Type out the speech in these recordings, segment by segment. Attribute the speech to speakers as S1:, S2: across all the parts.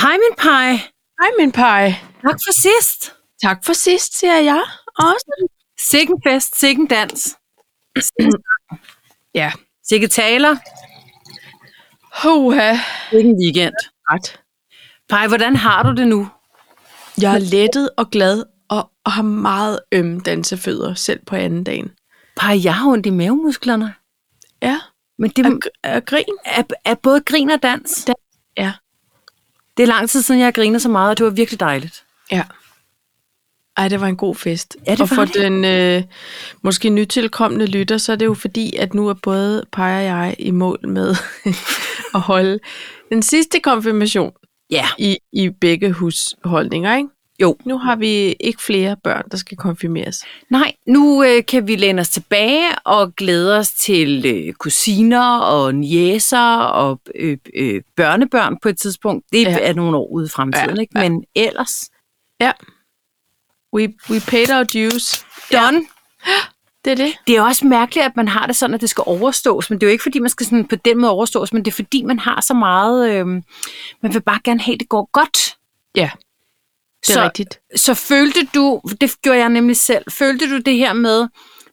S1: Hej min pej.
S2: Hej, min pej.
S1: Tak for sidst.
S2: Tak for sidst, siger jeg også.
S1: Sikken fest, sikken dans.
S2: Ja.
S1: Sikke taler,
S2: Hoha.
S1: sikken weekend.
S2: Ret.
S1: Pej, hvordan har du det nu?
S2: Jeg er lettet og glad og, og har meget ømme dansefødder, selv på anden dagen.
S1: Pej, jeg har ondt i mavemusklerne.
S2: Ja, Mm.
S1: Men det
S2: og, og grin.
S1: er, er både grin og dans.
S2: Ja.
S1: Det er lang tid siden, jeg har grinet så meget, og det var virkelig dejligt.
S2: Ja. Ej, det var en god fest.
S1: Ja, det
S2: og
S1: var
S2: for
S1: det.
S2: den øh, måske nytilkommende lytter, så er det jo fordi, at nu er både Paj og jeg i mål med at holde den sidste konfirmation
S1: Ja.
S2: i, i begge husholdninger, ikke?
S1: Jo.
S2: Nu har vi ikke flere børn, der skal konfirmeres.
S1: Nej, nu øh, kan vi læne os tilbage og glæde os til øh, kusiner og nieser og øh, øh, børnebørn på et tidspunkt. Det
S2: Ja.
S1: ja. er nogle år ude i fremtiden,
S2: Ja,
S1: ja. ikke? Men ellers,
S2: Ja. We, we paid our dues.
S1: done.
S2: Det er det.
S1: Det er også mærkeligt, at man har det sådan, at det skal overstås, men det er jo ikke, fordi man skal sådan på den måde overstås, men det er, fordi man har så meget... Øh, man vil bare gerne have, at det går godt.
S2: Ja, det er
S1: så,
S2: rigtigt.
S1: så følte du, det gjorde jeg nemlig selv, følte du det her med,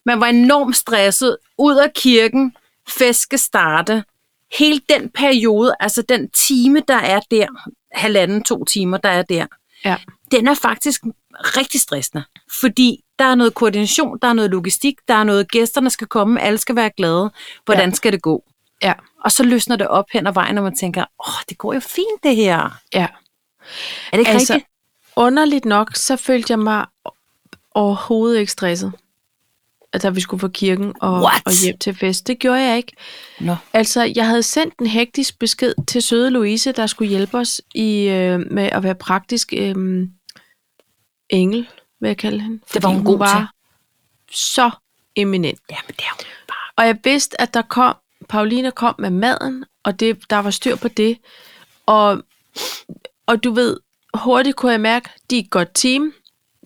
S1: man var enormt stresset, ud af kirken, fest skal starte, hele den periode, altså den time, der er der, halvanden, to timer, der er der,
S2: Ja.
S1: den er faktisk rigtig stressende, fordi der er noget koordination, der er noget logistik, der er noget, gæsterne skal komme, alle skal være glade, hvordan ja. skal det gå?
S2: Ja.
S1: Og så løsner det op hen ad vejen, og man tænker, åh, oh, det går jo fint det her.
S2: Ja.
S1: Er det ikke
S2: Altså-
S1: altså, rigtigt?
S2: Underligt nok, så følte jeg mig overhovedet ikke stresset. Altså, da vi skulle fra kirken og,
S1: What?
S2: og hjem til fest. Det gjorde jeg ikke.
S1: Nå.
S2: Altså, jeg havde sendt en hektisk besked til søde Louise, der skulle hjælpe os i, øh, med at være praktisk øh, engel, vil jeg kalde hende.
S1: Det var hun god
S2: var
S1: til.
S2: så eminent.
S1: Ja, men det er jo bare...
S2: Og jeg vidste, at der kom, Paulina kom med maden, og det, der var styr på det. Og, og du ved, hurtigt kunne jeg mærke, de er et godt team.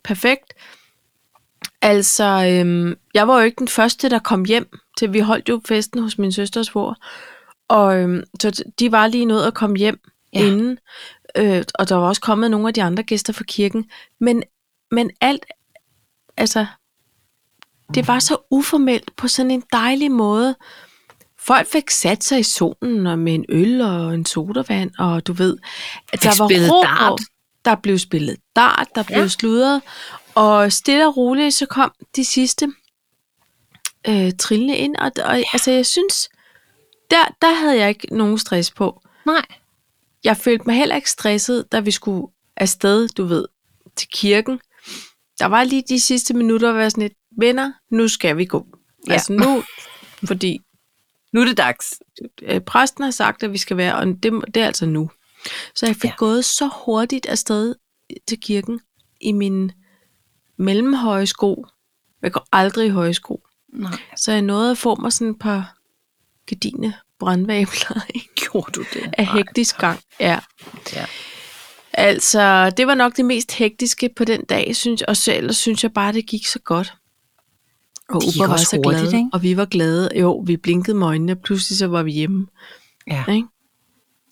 S2: Perfekt. Altså, øhm, jeg var jo ikke den første, der kom hjem, til vi holdt jo festen hos min søsters mor. Og øhm, så t- de var lige nået at komme hjem
S1: Ja.
S2: ja. inden. Øh, og der var også kommet nogle af de andre gæster fra kirken. Men, men alt, altså, det var så uformelt på sådan en dejlig måde. Folk fik sat sig i solen og med en øl og en sodavand, og du ved, at
S1: Fik
S2: der var
S1: spillet
S2: ro
S1: dart.
S2: på. Der blev spillet dart, der blev
S1: Ja.
S2: ja. sludret, og stille og roligt så kom de sidste øh, trillende ind, og, og ja. altså jeg synes, der, der havde jeg ikke nogen stress på.
S1: Nej.
S2: Jeg følte mig heller ikke stresset, da vi skulle afsted, du ved, til kirken. Der var lige de sidste minutter, hvor jeg sådan lidt, venner, nu skal vi gå.
S1: Ja.
S2: Ja. Altså nu, fordi
S1: Nu er det dags.
S2: øh, præsten har sagt, at vi skal være, og det, det er altså nu. Så jeg fik
S1: Ja.
S2: ja. gået så hurtigt afsted til kirken i min mellemhøje sko. Jeg går aldrig i høje sko.
S1: Nej.
S2: Så jeg nåede at få mig sådan et par gedine brandvabler ikke?
S1: Gjorde du det?
S2: af hektisk gang. Ja.
S1: Ja.
S2: Altså, det var nok det mest hektiske på den dag, synes jeg. Og så ellers synes jeg bare, det gik så godt. Og
S1: Det gik
S2: Uber var
S1: også
S2: så
S1: hurtigt,
S2: glad,
S1: ikke?
S2: og vi var glade. Jo, vi blinkede med øjnene, og pludselig så var vi hjemme.
S1: Ja.
S2: Ikke?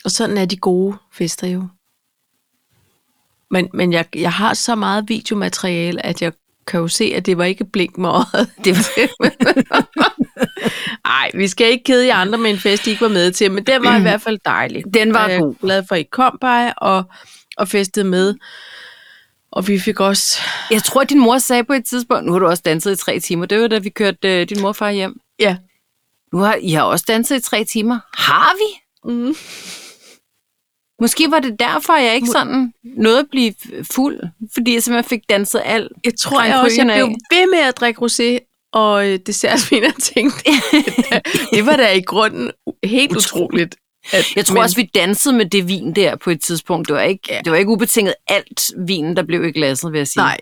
S2: Og sådan er de gode fester jo. Men, men jeg, jeg har så meget videomateriale, at jeg kan jo se, at det var ikke blink med øjet. Det var Ej, vi skal ikke kede jer andre med en fest, I ikke var med til, men den var i hvert fald dejlig.
S1: Den var
S2: Og jeg er
S1: god.
S2: glad for, at I kom by og, og festede med. Og vi fik også...
S1: Jeg tror, din mor sagde på et tidspunkt, nu har du også danset i tre timer. Det var da vi kørte øh, din mor og far hjem.
S2: Ja,
S1: Nu har I har også danset i tre timer. Har vi?
S2: Mm.
S1: Måske var det derfor, jeg ikke sådan nåede at blive fuld, fordi jeg simpelthen fik danset alt.
S2: jeg tror
S1: Dreng
S2: jeg også, jeg
S1: krygerne
S2: blev
S1: af.
S2: ved med at drikke rosé og øh, dessertvin, og tænkte, det var da i grunden helt utroligt. At,
S1: Jeg tror
S2: men-
S1: men... også, vi dansede med det vin der på et tidspunkt. Det var ikke, ja. det var ikke ubetinget alt vinen, der blev i glasset, vil jeg sige.
S2: Nej.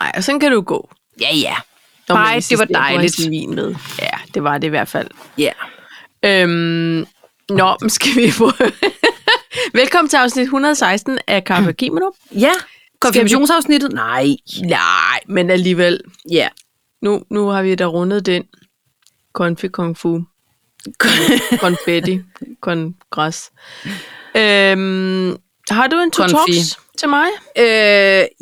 S2: Nej, og sådan kan du gå.
S1: Ja, ja.
S2: når man
S1: Nej, det var
S2: insisterer på at have
S1: dejligt.
S2: sin vin med. Ja, det var det i hvert fald.
S1: Ja.
S2: Øhm, nå, men skal vi på... Velkommen til afsnit 116 af Kaffe og Kimono.
S1: Ja. Konfirmationsafsnittet? Nej.
S2: Nej, men alligevel.
S1: Ja.
S2: Nu, nu har vi da rundet den. Konfi kung fu. Konfetti. Kongres. Øhm, Har du en to
S1: Konfi.
S2: talks til mig?
S1: Øh,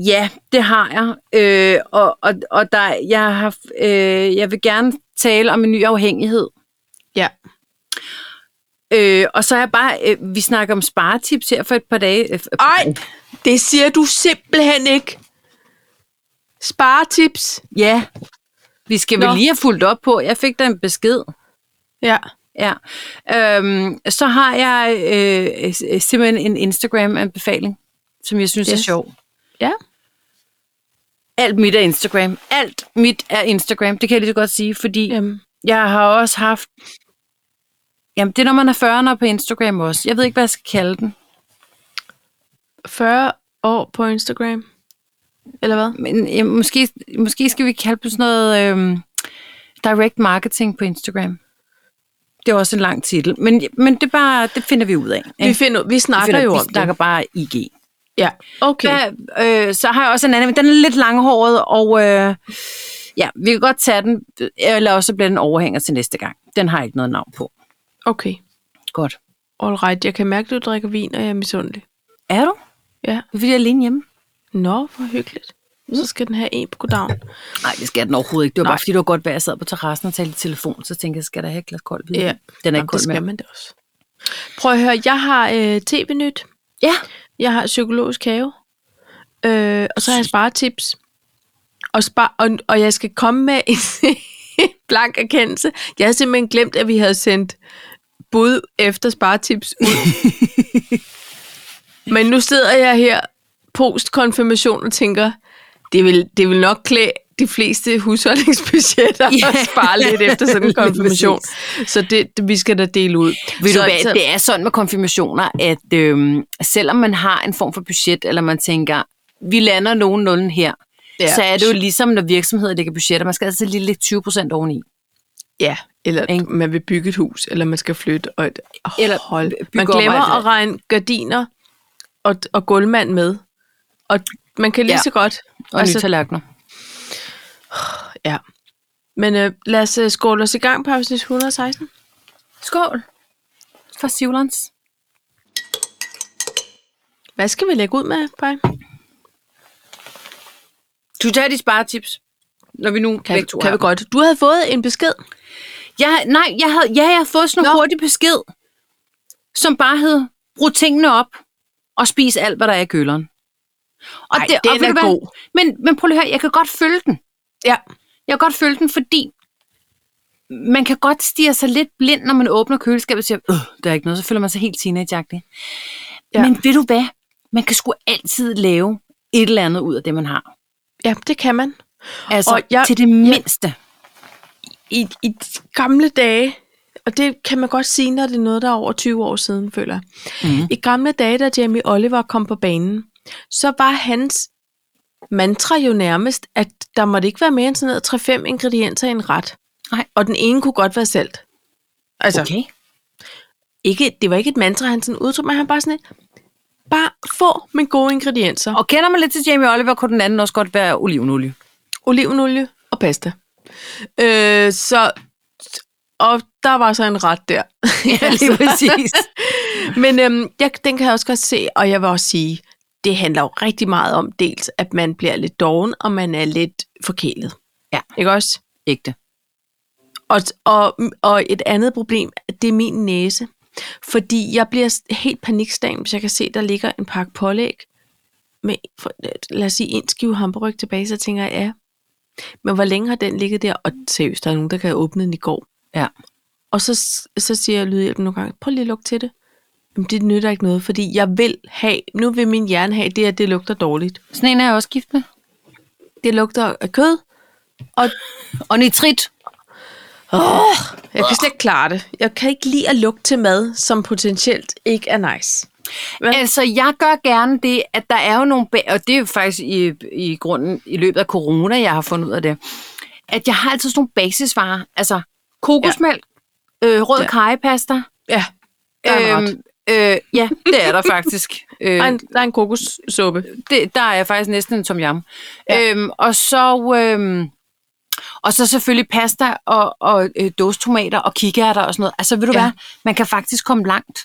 S1: ja, det har jeg. Øh, og og, og der, jeg, har, øh, jeg vil gerne tale om en ny afhængighed.
S2: Ja.
S1: Øh, og så er jeg bare, øh, vi snakker om sparetips her for et par dage. Øh,
S2: Ej, det siger du simpelthen ikke. Sparetips.
S1: Ja, vi skal vel
S2: Nå.
S1: lige have fulgt op på. Jeg fik da en besked.
S2: Ja.
S1: Ja. Øhm, så har jeg øh, øh, simpelthen en Instagram-anbefaling, som jeg synes yes. er
S2: Yes.
S1: sjov.
S2: Ja.
S1: Alt mit er Instagram. Alt mit er Instagram. Det kan jeg lige så godt sige, fordi
S2: Jamen.
S1: jeg har også haft... Jamen, det er, når man er 40'erne på Instagram også. Jeg ved ikke, hvad jeg skal kalde den.
S2: 40 år på Instagram. Eller hvad?
S1: Men øh, måske, måske skal vi kalde den sådan noget øh, direct marketing på Instagram. Det er også en lang titel. Men, men det, er bare, det finder vi ud af.
S2: Vi, finder, vi snakker
S1: finder,
S2: jo
S1: vi
S2: om
S1: snakker bare IG.
S2: det. Ja. Okay.
S1: Okay. Ja, øh, så har jeg også en anden, men den er lidt langhåret, og øh, ja, vi kan godt tage den, eller også bliver den overhænger til næste gang. Den har jeg ikke noget navn på.
S2: Okay.
S1: Godt.
S2: All right. Jeg kan mærke, at du drikker vin, og jeg er misundelig.
S1: Er du?
S2: Ja.
S1: Det er fordi, jeg er alene hjemme.
S2: Nå, hvor hyggeligt.
S1: Mm.
S2: Så skal den have en på goddagen.
S1: Nej, det skal den overhovedet ikke. Det var Nej. bare
S2: Nej.
S1: fordi, det var godt vejr. Jeg sad på terrassen og talte i telefon, så tænkte jeg, skal der have et glas koldt vin?
S2: Ja.
S1: Den er
S2: Jamen,
S1: ikke
S2: det
S1: kold
S2: skal
S1: med.
S2: man da også. Prøv at høre, jeg har øh, tv-nyt.
S1: Ja.
S2: Jeg har psykologisk have. Øh, og så har jeg sparetips. Og, spar, og, og jeg skal komme med en blank erkendelse. Jeg havde simpelthen glemt, at vi havde sendt bud efter sparetips ud. Men nu sidder jeg her post-konfirmation og tænker, det vil, det vil nok klæde de fleste husholdningsbudgetter
S1: Ja.
S2: yeah. at spare lidt efter sådan en
S1: Lige
S2: konfirmation. Så det, det, vi skal da dele ud.
S1: Ved
S2: så,
S1: du hvad,
S2: så,
S1: det er sådan med konfirmationer, at øhm, selvom man har en form for budget, eller man tænker, vi lander nogenlunde her, ja.
S2: Ja.
S1: så er det jo ligesom, når virksomheder lægger budgetter. Man skal altid lige lægge 20% oveni.
S2: Ja, eller
S1: Ikke?
S2: at man vil bygge et hus, eller man skal flytte. Og et, oh,
S1: Eller
S2: eller hold.
S1: by-
S2: Man
S1: bygge op og alt
S2: glemmer
S1: det
S2: at regne gardiner og, og gulvmand med. Og man kan lige
S1: Ja.
S2: ja. så godt.
S1: Og altså, nye tallerkener.
S2: ja. Men øh, lad os øh, skåle os i gang på afsnit 116.
S1: Skål for Sivlands.
S2: Hvad skal vi lægge ud med, Paj?
S1: Du tager de sparetips, når vi nu
S2: Kan,
S1: begge to
S2: kan
S1: er
S2: vi
S1: her.
S2: godt. Du havde fået en besked.
S1: Jeg, nej, jeg havde, ja, jeg havde fået sådan en
S2: Nå.
S1: hurtig besked, som bare hed, brug tingene op og spis alt, hvad der er i køleren. Og
S2: Ej, den
S1: og ved
S2: er
S1: du hvad?
S2: god.
S1: Men, men prøv lige at høre, jeg kan godt følge den.
S2: Ja.
S1: Jeg kan godt følge den, fordi man kan godt stige sig lidt blind, når man åbner køleskabet og siger, øh, der er ikke noget, så føler man sig helt teenageagtig. Ja.
S2: Ja.
S1: Men ved du hvad? Man kan sgu altid lave et eller andet ud af det, man har.
S2: ja, det kan man.
S1: Altså, og
S2: Og
S1: jeg,
S2: jeg-
S1: til det mindste.
S2: i, i de gamle dage, og det kan man godt sige, når det er noget, der er over 20 år siden, føler jeg.
S1: Mhm.
S2: Mm. I gamle dage, da Jamie Oliver kom på banen, så var hans mantra jo nærmest, at der måtte ikke være mere end sådan noget 3-5 ingredienser i en ret.
S1: Nej.
S2: Og den ene kunne godt være salt. Altså, okay. ikke, det var ikke et mantra, han sådan udtrykte, men han bare sådan et, bare få med gode ingredienser.
S1: Og kender man lidt til Jamie Oliver, kunne den anden også godt være olivenolie.
S2: olivenolie og pasta. Øh, så, og der var så en ret der.
S1: Ja, lige præcis.
S2: Men øhm, jeg, den kan jeg også godt se, og jeg vil også sige, det handler jo rigtig meget om dels, at man bliver lidt doven, og man er lidt forkælet.
S1: Ja.
S2: Ikke også?
S1: Ægte.
S2: Og, og, og et andet problem, det er min næse. Fordi jeg bliver s- helt panikstagen, hvis jeg kan se, der ligger en pakke pålæg med, for, lad os sige, en skive hamburg tilbage, så tænker jeg, ja. Men hvor længe har den ligget der? Og seriøst, der er nogen, der kan åbne den i går.
S1: Ja.
S2: Og så, s- så siger jeg lydhjælpen nogle gange, prøv lige at lukke til det. Jamen, det nytter ikke noget, fordi jeg vil have, nu vil min hjerne have det, at det lugter dårligt.
S1: Sådan en er jeg også gift med.
S2: Det lugter af kød, og
S1: Og nitrit.
S2: Jeg kan slet ikke klare det. Jeg kan ikke lide at lugte til mad, som potentielt ikke er nice.
S1: Altså, jeg gør gerne det, at der er jo nogle... Bag- og det er jo faktisk i, i grunden i løbet af corona, jeg har fundet ud af det. At jeg har altid sådan nogle basisvarer. Altså, kokosmælk, ja. øh, rød ja.
S2: Ja.
S1: kajepasta.
S2: Ja, der er en ret.
S1: øh, ja, det er der faktisk. Øh,
S2: Øhm, Der er en, der er en kokossuppe.
S1: det, der er jeg faktisk næsten en tom jam. Ja.
S2: Ja.
S1: Øhm, og så... Øhm, og så selvfølgelig pasta og, og øh, dåstomater og kikærter og sådan noget. Altså, ved du ja.
S2: Ja.
S1: hvad? Man kan faktisk komme langt.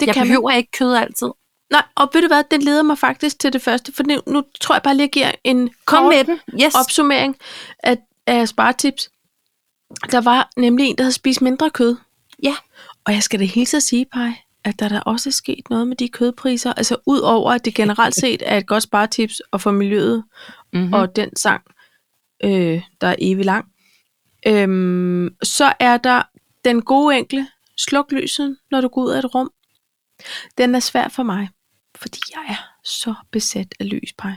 S2: Det
S1: jeg
S2: kan man.
S1: behøver ikke kød altid.
S2: Nej, og ved du hvad, den leder mig faktisk til det første, for nu, nu tror jeg bare lige, at jeg giver en
S1: Kom
S2: kort
S1: med den. Yes.
S2: opsummering af, af sparetips. Der var nemlig en, der havde spist mindre kød.
S1: Ja.
S2: Og jeg skal da hilse at sige, Paj, at der da også er sket noget med de kødpriser. Altså udover, at det generelt set er et godt sparetips og for miljøet
S1: Mm-hmm.
S2: mm. og den sang, øh, der er evig lang. Øhm, så er der den gode enkle, sluk lyset, når du går ud af et rum. Den er svær for mig, fordi jeg er så besat af lyspej.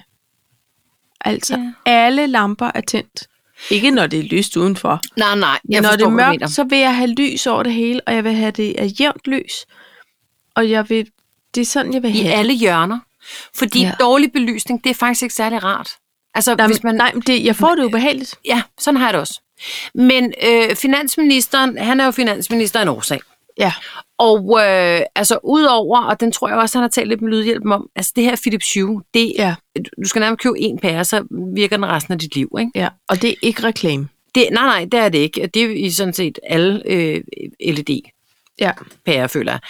S2: Altså,
S1: Ja.
S2: yeah. alle lamper er tændt. Ikke når det er lyst udenfor.
S1: nej, nej. Jeg
S2: Når det
S1: forstår,
S2: er
S1: hvad du
S2: mørkt,
S1: mener.
S2: så vil jeg have lys over det hele, og jeg vil have det af jævnt lys. Og jeg vil, det er sådan, jeg vil
S1: I
S2: have det.
S1: alle hjørner. Fordi
S2: Ja.
S1: ja. dårlig belysning, det er faktisk ikke særlig rart. Altså,
S2: Nej,
S1: hvis
S2: men,
S1: man,
S2: nej, men det, jeg får det ubehageligt.
S1: Ja, sådan har jeg det også. Men øh, finansministeren, han er jo finansminister af en årsag.
S2: Ja.
S1: Og øh, altså udover, og den tror jeg også, han har talt lidt med lydhjælpen om, altså det her Philips Hue, det,
S2: Ja.
S1: du skal nærmest købe en pære, så virker den resten af dit liv. Ikke?
S2: ja, og det er ikke reklame.
S1: Det, nej, nej, det er det ikke. Det er i sådan set alle øh, LED-pærer,
S2: Ja.
S1: føler jeg.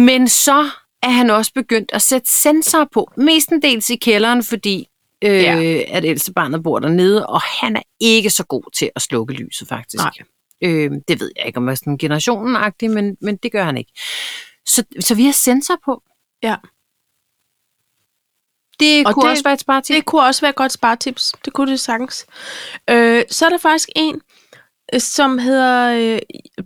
S1: Men så er han også begyndt at sætte sensorer på, mestendels i kælderen, fordi øh,
S2: Ja.
S1: ja. at ældste barnet bor dernede, og han er ikke så god til at slukke lyset, faktisk.
S2: Nej.
S1: Øh, det ved jeg ikke, om jeg er sådan generationen-agtig, men, men det gør han ikke. Så, så vi har sensor på.
S2: Ja.
S1: Det
S2: Og
S1: og kunne
S2: det-
S1: det, også være et spartip.
S2: Det kunne også være et godt sparetips. Det kunne det sagtens. Øh, så er der faktisk en, øh, som hedder... Øh,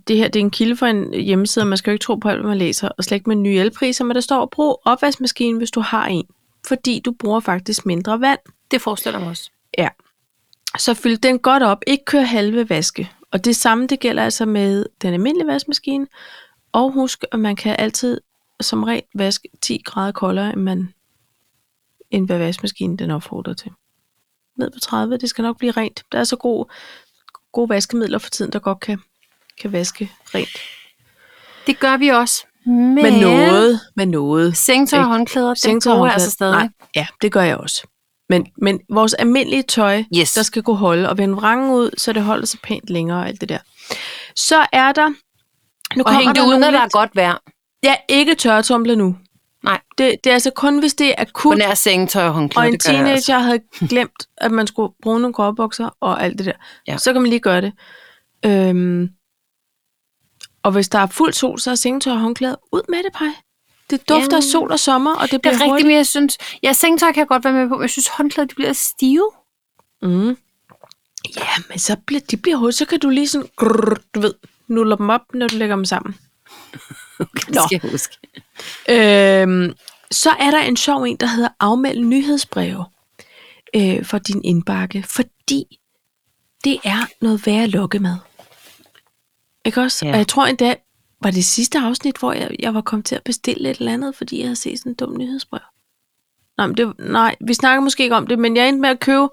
S2: det her det er en kilde fra en hjemmeside, og man skal jo ikke tro på alt, hvad man læser, og slet ikke med nye elpriser, men der står, brug opvaskemaskinen, hvis du har en, fordi du bruger faktisk mindre vand.
S1: Det forestiller jeg mig også.
S2: Ja. Så fyld den godt op. Ikke kør halve vaske. Og det samme, det gælder altså med den almindelige vaskemaskine. Og husk, at man kan altid som regel vaske 10 grader koldere, end, man, end hvad vaskemaskinen den opfordrer til. Ned på 30, det skal nok blive rent. Der er så gode, gode vaskemidler for tiden, der godt kan, kan vaske rent.
S1: Det gør vi også. Men,
S2: Men noget, med noget.
S1: Sengtøj og
S2: Ikke?
S1: håndklæder, det
S2: Sengtøj og
S1: bruger jeg
S2: håndklæde.
S1: altså stadig.
S2: Nej, ja, det gør jeg også. Men, men vores almindelige tøj,
S1: Yes.
S2: der skal kunne holde, og vende vrangen ud, så det holder sig pænt længere og alt det der. Så er der... Nu
S1: Og hænge det ud,
S2: nogle
S1: når der er
S2: lidt-
S1: godt vejr.
S2: Ja, ikke tørretumbler nu.
S1: Nej.
S2: Det, det er altså kun, hvis det er
S1: På
S2: akut,
S1: nær sengetøj og håndklæder,
S2: og en
S1: det gør jeg
S2: teenager
S1: altså.
S2: altså. havde glemt, at man skulle bruge nogle gråbukser og alt det der.
S1: Ja.
S2: Så kan man lige gøre det. Øhm, og hvis der er fuld sol, så er sengetøj og håndklæder ud med det, pej. Det dufter
S1: Ja.
S2: af sol og sommer, og det
S1: Det
S2: bliver
S1: er rigtigt,
S2: hurtigt.
S1: men jeg synes... Ja, sengetøj kan jeg godt være med på, men jeg synes, håndklæder, de bliver stive.
S2: Mm. Ja, men så bliver, de bliver hurtigt, så kan du lige sådan, grrr, du ved, nuller dem op, når du lægger dem sammen.
S1: Okay,
S2: Nå.
S1: jeg huske.
S2: Øhm, så er der en sjov en, der hedder afmeld nyhedsbreve øh, for din indbakke, fordi det er noget værre at lukke med. Ikke også?
S1: Ja.
S2: Og jeg tror endda, var det sidste afsnit, hvor jeg, jeg var kommet til at bestille et eller andet, fordi jeg havde set sådan en dum nyhedsbrev. Nej, men det, nej, vi snakker måske ikke om det, men jeg endte med at købe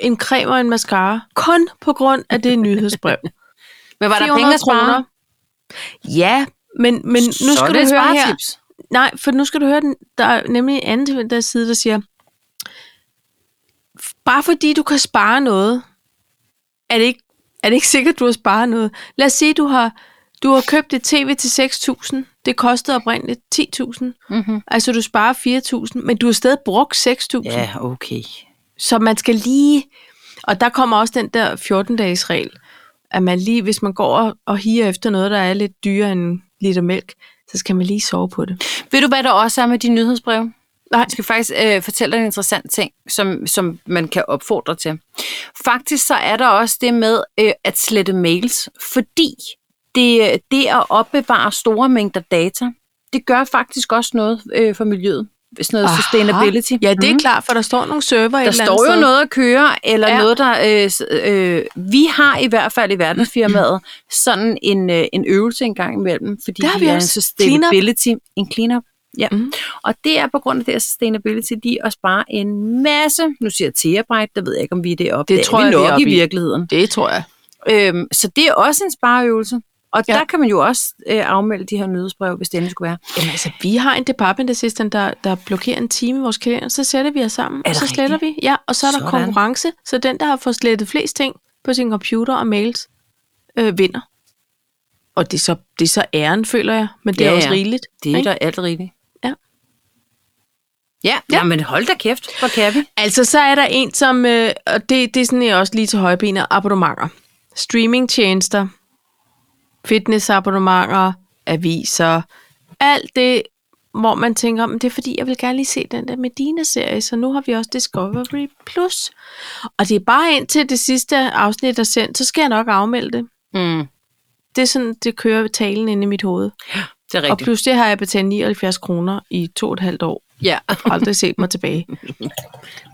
S2: en creme og en mascara, kun på grund af det nyhedsbrev.
S1: Men var der penge at spare?
S2: kroner. Ja, men, men nu
S1: Så er
S2: skal
S1: det
S2: du
S1: et
S2: høre her.
S1: sparetips.
S2: Nej, for nu skal du høre den. Der er nemlig en anden til den der side, der siger, bare fordi du kan spare noget, er det ikke, er det ikke sikkert, du har sparet noget. Lad os sige, du har, du har købt et tv til 6.000. Det kostede oprindeligt 10.000.
S1: Mm-hmm.
S2: Altså, du sparer 4.000, men du har stadig brugt 6.000.
S1: Ja, okay.
S2: Så man skal lige... Og der kommer også den der 14-dages regel, at man lige, hvis man går og, og higer efter noget, der er lidt dyrere end en liter mælk, så skal man lige sove på det.
S1: Ved du, hvad der også er med de nyhedsbreve?
S2: Nej.
S1: Jeg skal faktisk øh, fortælle dig en interessant ting, som, som man kan opfordre til. Faktisk så er der også det med øh, at slette mails, fordi det, det at opbevare store mængder data, det gør faktisk også noget øh, for miljøet. Sådan noget Aha. sustainability.
S2: Ja, det er
S1: Mhm.
S2: klart, for der står nogle server et
S1: Der
S2: eller
S1: står jo
S2: andet
S1: noget at køre, eller
S2: Ja.
S1: ja. noget, der... Øh, s- øh, vi har i hvert fald i verdensfirmaet sådan en, øh, en øvelse en gang imellem, fordi
S2: Det har vi
S1: er en
S2: også. Clean up.
S1: sustainability, en cleanup. Ja.
S2: Mhm.
S1: Mm. Og det er på grund af det her sustainability, de at spare en masse, nu siger jeg terabyte, der ved jeg ikke, om vi er deroppe.
S2: Det
S1: er
S2: tror
S1: vi
S2: jeg, vi er
S1: nok i
S2: oppe i.
S1: virkeligheden.
S2: Det tror jeg.
S1: Øhm, så det er også en spareøvelse. Og
S2: Ja.
S1: ja. der kan man jo også øh, afmelde de her nyhedsbrev, hvis det endelig skulle være.
S2: Jamen altså, vi har en department assistant, der, der blokerer en time i vores kalender, så sætter vi os sammen,
S1: Er
S2: og
S1: det
S2: så sletter vi. Ja, og så er der
S1: Sådan.
S2: konkurrence, så den, der har fået slettet flest ting på sin computer og mails, øh, vinder. Og det er, så, det er så æren, føler jeg, men det er
S1: Ja,
S2: også
S1: ja.
S2: rigeligt.
S1: Det er
S2: ikke?
S1: da alt rigtigt.
S2: Ja.
S1: Ja, ja. men hold da kæft, hvor kan vi?
S2: Altså, så er der en, som... Øh, og det, det er sådan jeg også lige til højbenet. Abonnementer. Streamingtjenester. Fitnessabonnementer. Aviser. Alt det, hvor man tænker, men det er fordi, jeg vil gerne lige se den der Medina-serie, så nu har vi også Discovery+. Plus. Og det er bare indtil det sidste afsnit er sendt, så skal jeg nok afmelde det.
S1: Mm,
S2: Det er sådan, det kører talen inde i mit hoved.
S1: det er
S2: Og
S1: rigtigt.
S2: pludselig har jeg betalt 79 kroner i to og et halvt år.
S1: Ja,
S2: Aldrig set mig tilbage.
S1: det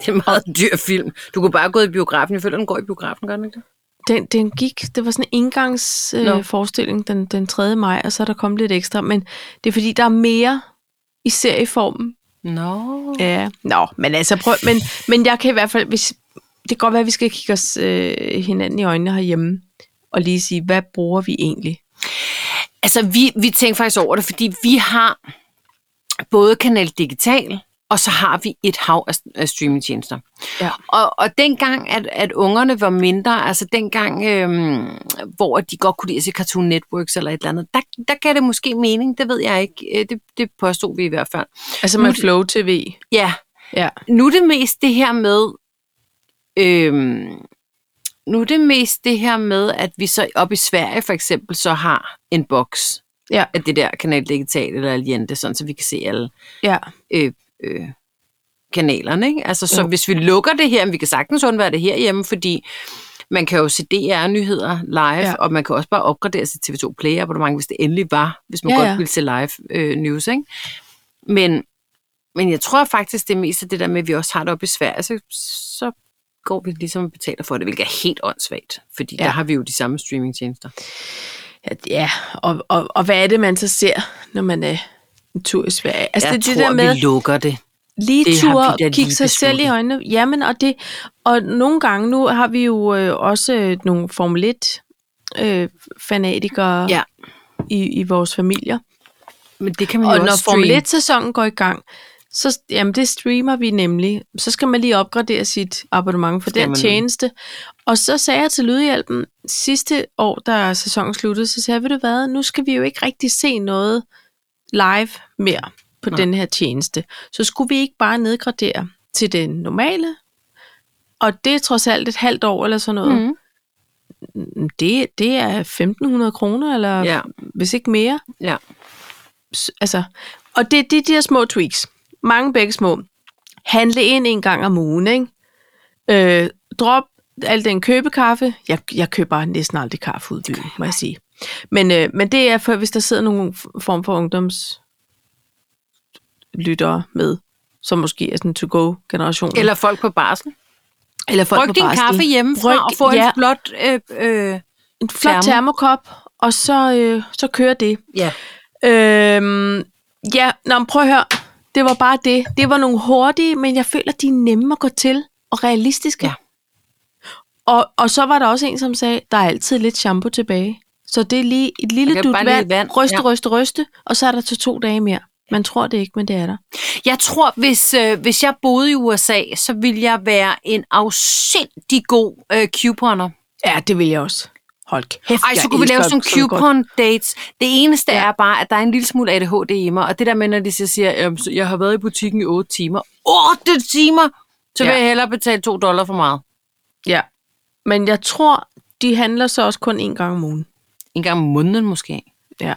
S1: er en meget dyr film. Du kunne bare gå i biografen. Jeg føler, den går i biografen, gør den ikke det?
S2: Den, den gik, det var sådan en engangsforestilling
S1: Nå.
S2: øh, forestilling den, den 3. maj, og så er der kommet lidt ekstra, men det er fordi, der er mere i serieformen.
S1: Nå. No.
S2: Ja, nå, men altså prøv, men, men jeg kan i hvert fald, hvis, det kan godt være, at vi skal kigge os øh, hinanden i øjnene herhjemme, og lige sige, hvad bruger vi egentlig?
S1: Altså, vi, vi tænker faktisk over det, fordi vi har både Kanal Digital, og så har vi et hav af, af streamingtjenester.
S2: Ja.
S1: Og, og dengang, at, at ungerne var mindre, altså dengang, øhm, hvor de godt kunne lide at se Cartoon Networks eller et eller andet, der, der gav det måske mening, det ved jeg ikke. Øh, Det, det påstod vi i hvert fald.
S2: Altså
S1: Nu er
S2: med
S1: det-
S2: Flow TV.
S1: Ja,
S2: Ja.
S1: nu er det mest det her med, øhm, nu er det mest det her med, at vi så op i Sverige for eksempel, så har en boks
S2: Ja.
S1: af det der kanal digital eller Aliente, sådan så vi kan se alle
S2: Ja,
S1: øh, øh, kanalerne. Ikke? Altså, så
S2: Jo.
S1: hvis vi lukker det her, men vi kan sagtens undvære det herhjemme, fordi man kan jo se DR-nyheder live,
S2: Ja.
S1: ja. og man kan også bare opgradere sit TV2 Play abonnement, hvis det endelig var, hvis man
S2: Ja,
S1: ja, godt
S2: ja.
S1: ja. ville se live øh, news. Ikke? Men, men jeg tror faktisk, det er mest af det der med, at vi også har det oppe i Sverige, så, så går vi ligesom og betaler for det, hvilket er helt åndssvagt, fordi
S2: Ja.
S1: ja. Altså, der har vi jo de samme streamingtjenester.
S2: At- ja. Og, og, og hvad er det, man så ser, når man er en tur i Sverige? Altså,
S1: jeg
S2: det, er
S1: tror,
S2: det der med,
S1: vi lukker det.
S2: lige
S1: Det har
S2: tur
S1: vi da lige
S2: kigge sig selv i
S1: besluttet.
S2: øjnene. Jamen, og, det, og nogle gange, nu har vi jo øh, også øh, nogle Formel 1 øh, fanatikere ja.
S1: Ja,
S2: i, i vores familier.
S1: men det kan man
S2: Og
S1: jo
S2: når
S1: også
S2: Formel
S1: streame.
S2: 1-sæsonen går i gang, så jamen, det streamer vi nemlig. Så skal man lige opgradere sit abonnement for
S1: Skal
S2: den
S1: man.
S2: tjeneste. Og så sagde jeg til Lydhjælpen sidste år, da sæsonen sluttede, så sagde jeg, ved du hvad, nu skal vi jo ikke rigtig se noget live mere på Nej.
S1: Nej.
S2: den her tjeneste. Så skulle vi ikke bare nedgradere til den normale? Og det er trods alt et halvt år eller sådan noget.
S1: Mhm.
S2: Mm. Det, det er 1.500 kroner, eller ja.
S1: Ja.
S2: hvis ikke mere
S1: Ja.
S2: s- altså, og det, det er de der små tweaks. Mange begge små. Handle ind en gang om ugen, ikke? Øh, drop al den købekaffe. Jeg, jeg køber næsten aldrig kaffe ud i byen, må jeg sige. Men, øh, men det er, for, hvis der sidder nogen f- form for ungdoms lyttere med, som måske er sådan to-go-generation.
S1: Eller folk på barsel.
S2: eller folk på
S1: Bryg din
S2: barsel.
S1: kaffe hjemmefra
S2: Bryg-
S1: og få
S2: ja,
S1: en flot... Øh, øh,
S2: en flot
S1: termo.
S2: termokop, og så, øh, så kører det.
S1: ja.
S2: Øhm, ja, nå, men prøv at høre. Det var bare det. Det var nogle hurtige, men jeg føler, de er nemme at gå til og realistiske.
S1: Ja.
S2: Og, og så var der også en, som sagde, der er altid lidt shampoo tilbage. Så det er lige et lille
S1: kan
S2: dut
S1: bare
S2: vand,
S1: lige vand,
S2: ryste,
S1: ja.
S2: ryste, ryste, og så er der til to dage mere. Man tror det ikke, men det er der.
S1: Jeg tror, hvis, øh, hvis jeg boede i USA, så ville jeg være en afsindig god øh, couponer.
S2: Ja, det vil jeg også. Hold kæft,
S1: Ej, så kunne vi lave sådan nogle coupon-dates. Det eneste
S2: Ja.
S1: ja. er bare, at der er en lille smule ADHD i mig, og det der med, når de så siger, "Jamen, så jeg har været i butikken i 8 timer. 8 timer! Så vil
S2: Ja.
S1: ja. jeg hellere betale 2 dollar for meget.
S2: Ja, men jeg tror, de handler så også kun en gang om ugen.
S1: En gang om måneden måske.
S2: Ja.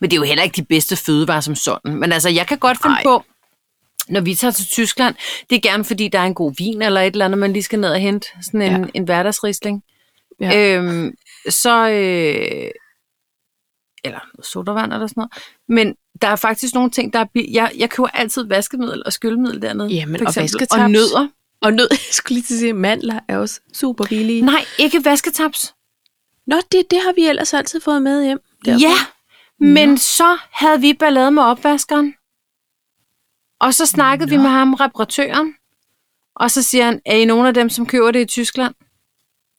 S1: Men det er jo heller ikke de bedste fødevarer som sådan. Men altså, jeg kan godt finde
S2: Ej.
S1: Ej. på, når vi tager til Tyskland, det er gerne fordi, der er en god vin eller et eller andet, man lige skal ned og hente. Sådan en,
S2: Ja.
S1: ja. en hverdagsrisling.
S2: Ja.
S1: Ja. Øhm, så... Øh, eller noget sodavand eller sådan noget. Men der er faktisk nogle ting, der er... bi- Jeg, jeg køber altid vaskemiddel og skyllemiddel dernede.
S2: Jamen,
S1: for
S2: og
S1: eksempel.
S2: vasketaps.
S1: Og nødder.
S2: Og nød, jeg skulle lige til at sige, mandler er også super billige.
S1: Nej, ikke vasketaps.
S2: Nå, det, det har vi ellers altid fået med hjem.
S1: Derfor. Ja, men så havde vi ballade med opvaskeren. Og så snakkede Nå. vi med ham, reparatøren. Og så siger han, er I nogen af dem, som køber det i Tyskland?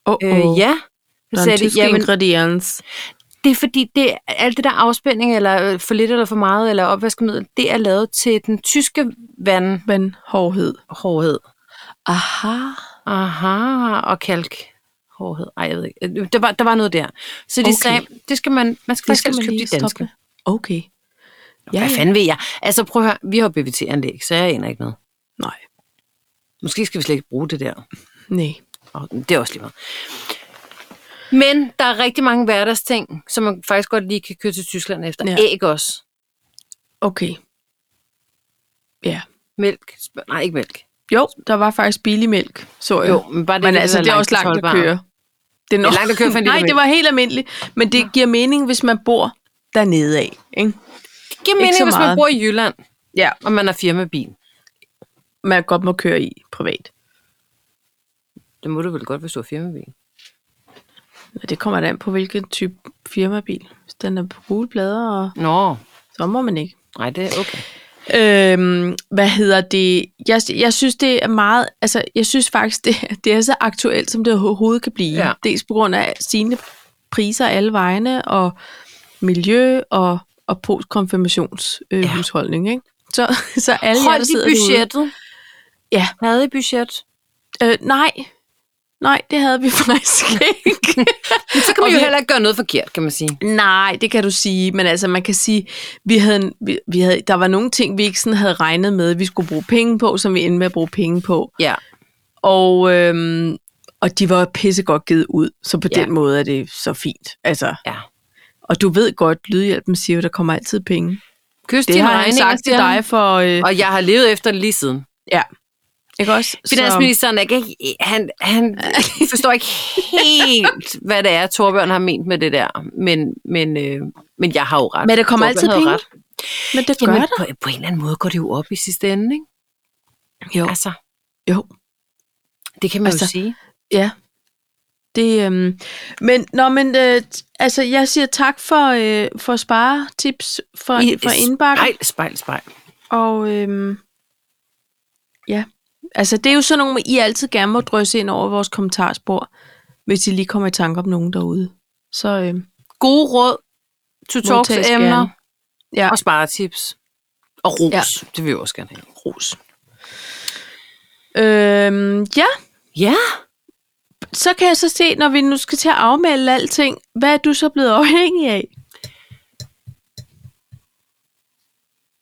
S2: Oh,
S1: Øh, ja.
S2: Der
S1: Så
S2: er
S1: sagde
S2: en
S1: de,
S2: tysk
S1: jamen,
S2: ingrediens. det
S1: det er fordi, det, alt det der afspænding, eller øh, for lidt eller for meget, eller opvaskemiddel, det er lavet til den tyske vandhårdhed.
S2: men hårdhed. Aha.
S1: Aha, og kalk. Hårdhed. Ej, jeg ved ikke. Øh, Der var, der var noget der. Så de
S2: Okay.
S1: okay. sagde, det skal man, man skal,
S2: Det
S1: faktisk
S2: skal
S1: helst
S2: man
S1: købe
S2: lige
S1: de danske.
S2: stoppe. Okay. Ja,
S1: Hvad
S2: ja.
S1: fanden ved jeg? Altså prøv at høre, vi har BVT-anlæg, så jeg aner ikke noget.
S2: Nej,
S1: Måske skal vi slet ikke bruge det der.
S2: nej.
S1: Og det er også lige meget. Men der er rigtig mange hverdagsting, som man faktisk godt lige kan køre til Tyskland efter. Ja.
S2: Ja.
S1: Æg også.
S2: Okay. Ja.
S1: Mælk. Sp- Nej, ikke mælk.
S2: Jo, der var faktisk billig mælk, så jeg.
S1: Jo, men bare det,
S2: Men
S1: kan
S2: altså,
S1: være
S2: det er også langt at
S1: holdbart.
S2: køre. er,
S1: Det er langt at køre for en liter
S2: Nej, det
S1: mælk.
S2: var helt almindeligt. Men det giver mening, hvis man bor dernede af. Ikke?
S1: Det
S2: Ikke
S1: giver mening,
S2: så
S1: hvis man
S2: meget.
S1: bor i Jylland,
S2: Ja.
S1: og man har firmabil.
S2: Man godt må køre i privat.
S1: Det må du vel godt, hvis du har firmabil.
S2: Og det kommer da an på, hvilken type firmabil. Hvis den er på gule plader, og
S1: Nå,
S2: så må man ikke.
S1: nej, det er okay.
S2: Øhm, hvad hedder det? Jeg, jeg synes, det er meget... Altså, jeg synes faktisk, det, det er så aktuelt, som det overhovedet kan blive.
S1: Ja.
S2: Dels på grund af sine priser alle vegne, og miljø, og, og postkonfirmationshusholdning, øh,
S1: Ja.
S2: husholdning, ikke? Så, så alle jer, der
S1: Holdt i
S2: sidder derude-
S1: budgettet.
S2: Ja.
S1: Havde I budget?
S2: Øh, nej. Nej, det havde vi faktisk ikke.
S1: Men så kan man
S2: Og
S1: jo
S2: vi-
S1: heller ikke gøre noget forkert, kan man sige.
S2: Nej, det kan du sige, men altså man kan sige, vi havde, en- vi, vi havde, der var nogle ting, vi ikke sådan havde regnet med, vi skulle bruge penge på, som vi endte med at bruge penge på.
S1: Ja.
S2: Og, øhm, og de var pissegodt givet ud, så på
S1: Ja.
S2: ja. den måde er det så fint. Altså,
S1: ja.
S2: og du ved godt, Lydhjælpen siger jo, der kommer altid penge.
S1: Kys
S2: Det
S1: dine
S2: har han
S1: regninger,
S2: sagt til
S1: siger han.
S2: dig for... Øh,
S1: Og jeg har levet efter det lige siden.
S2: ja, ikke også?
S1: Finansministeren er ikke, han, han forstår ikke helt, hvad det er, Torbjørn har ment med det der. Men, men, øh, men jeg har jo ret.
S2: Men der kommer altid
S1: havde
S2: penge.
S1: ret.
S2: Så, men det gør
S1: Jamen,
S2: der.
S1: på, på en eller anden måde går det jo op i sidste ende, ikke?
S2: Jo,
S1: Altså,
S2: jo.
S1: det kan man altså,
S2: Altså,
S1: jo sige.
S2: Ja. Det, øhm, men, nå, men øh, t- altså, jeg siger tak for, øh, for sparetips for, I, for indbakken.
S1: Spejl, spejl, spejl.
S2: Og øhm, ja, altså det er jo sådan nogle, I altid gerne må drysse ind over vores kommentarspor, hvis I lige kommer i tanke om nogen derude. Så øh,
S1: Gode råd,
S2: Modtages
S1: tutorials-emner
S2: gerne. ja,
S1: og sparetips. Og ros, ja.
S2: Ja.
S1: det vil jeg også gerne have.
S2: ros. Øhm, ja,
S1: Ja,
S2: så kan jeg så se, når vi nu skal til at afmelde alting, hvad er du så blevet afhængig af?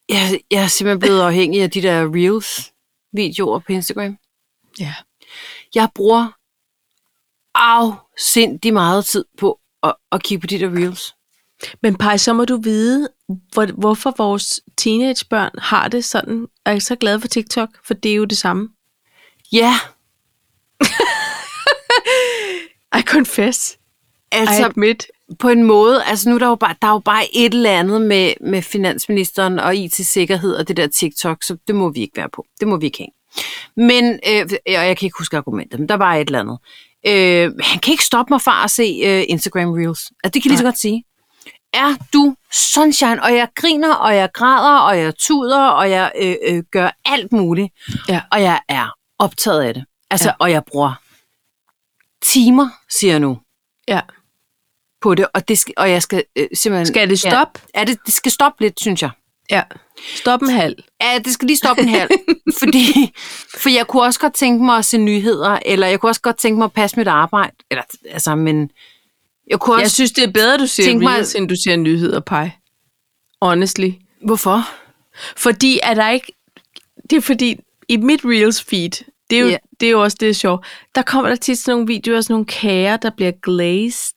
S1: jeg, jeg er simpelthen blevet afhængig af de der Reels-videoer på Instagram.
S2: Ja.
S1: jeg bruger afsindig meget tid på at, at kigge på de der reels.
S2: Men Paj, så må du vide, hvor, hvorfor vores teenagebørn har det sådan, og er så glade for TikTok, for det er jo det samme.
S1: Ja,
S2: I confess. I
S1: altså
S2: admit.
S1: på en måde, altså nu er der jo bare, der er jo bare et eller andet med, med finansministeren og IT-sikkerhed og det der TikTok, så det må vi ikke være på. Det må vi ikke have. Men, øh, og jeg kan ikke huske argumentet, men der var et eller andet. Øh, han kan ikke stoppe mig fra at se øh, Instagram Reels. Altså, det kan jeg lige så godt sige. er du sunshine, og jeg griner, og jeg græder, og jeg tuder, og jeg øh, øh, gør alt muligt.
S2: Ja.
S1: Og jeg er optaget af det. Altså, ja.
S2: Ja.
S1: og jeg bruger timer, siger jeg nu,
S2: Ja.
S1: på det, og, det skal, og jeg skal øh, simpelthen...
S2: Skal det stoppe?
S1: Ja, er det, det skal stoppe lidt, synes jeg.
S2: Ja. Stop en halv.
S1: Ja, det skal lige stoppe en halv, fordi for jeg kunne også godt tænke mig at se nyheder, eller jeg kunne også godt tænke mig at passe mit arbejde, eller altså, men jeg kunne også...
S2: Jeg synes, det er bedre, du ser
S1: Tænk mig-
S2: reels, mig... end du ser nyheder, Paj. Honestly.
S1: hvorfor?
S2: Fordi er der ikke... Det er fordi, i mit reels feed, det er jo,
S1: Ja.
S2: yeah. det er jo også det er sjovt, der kommer der tit sådan nogle videoer af sådan nogle kager, der bliver glazed,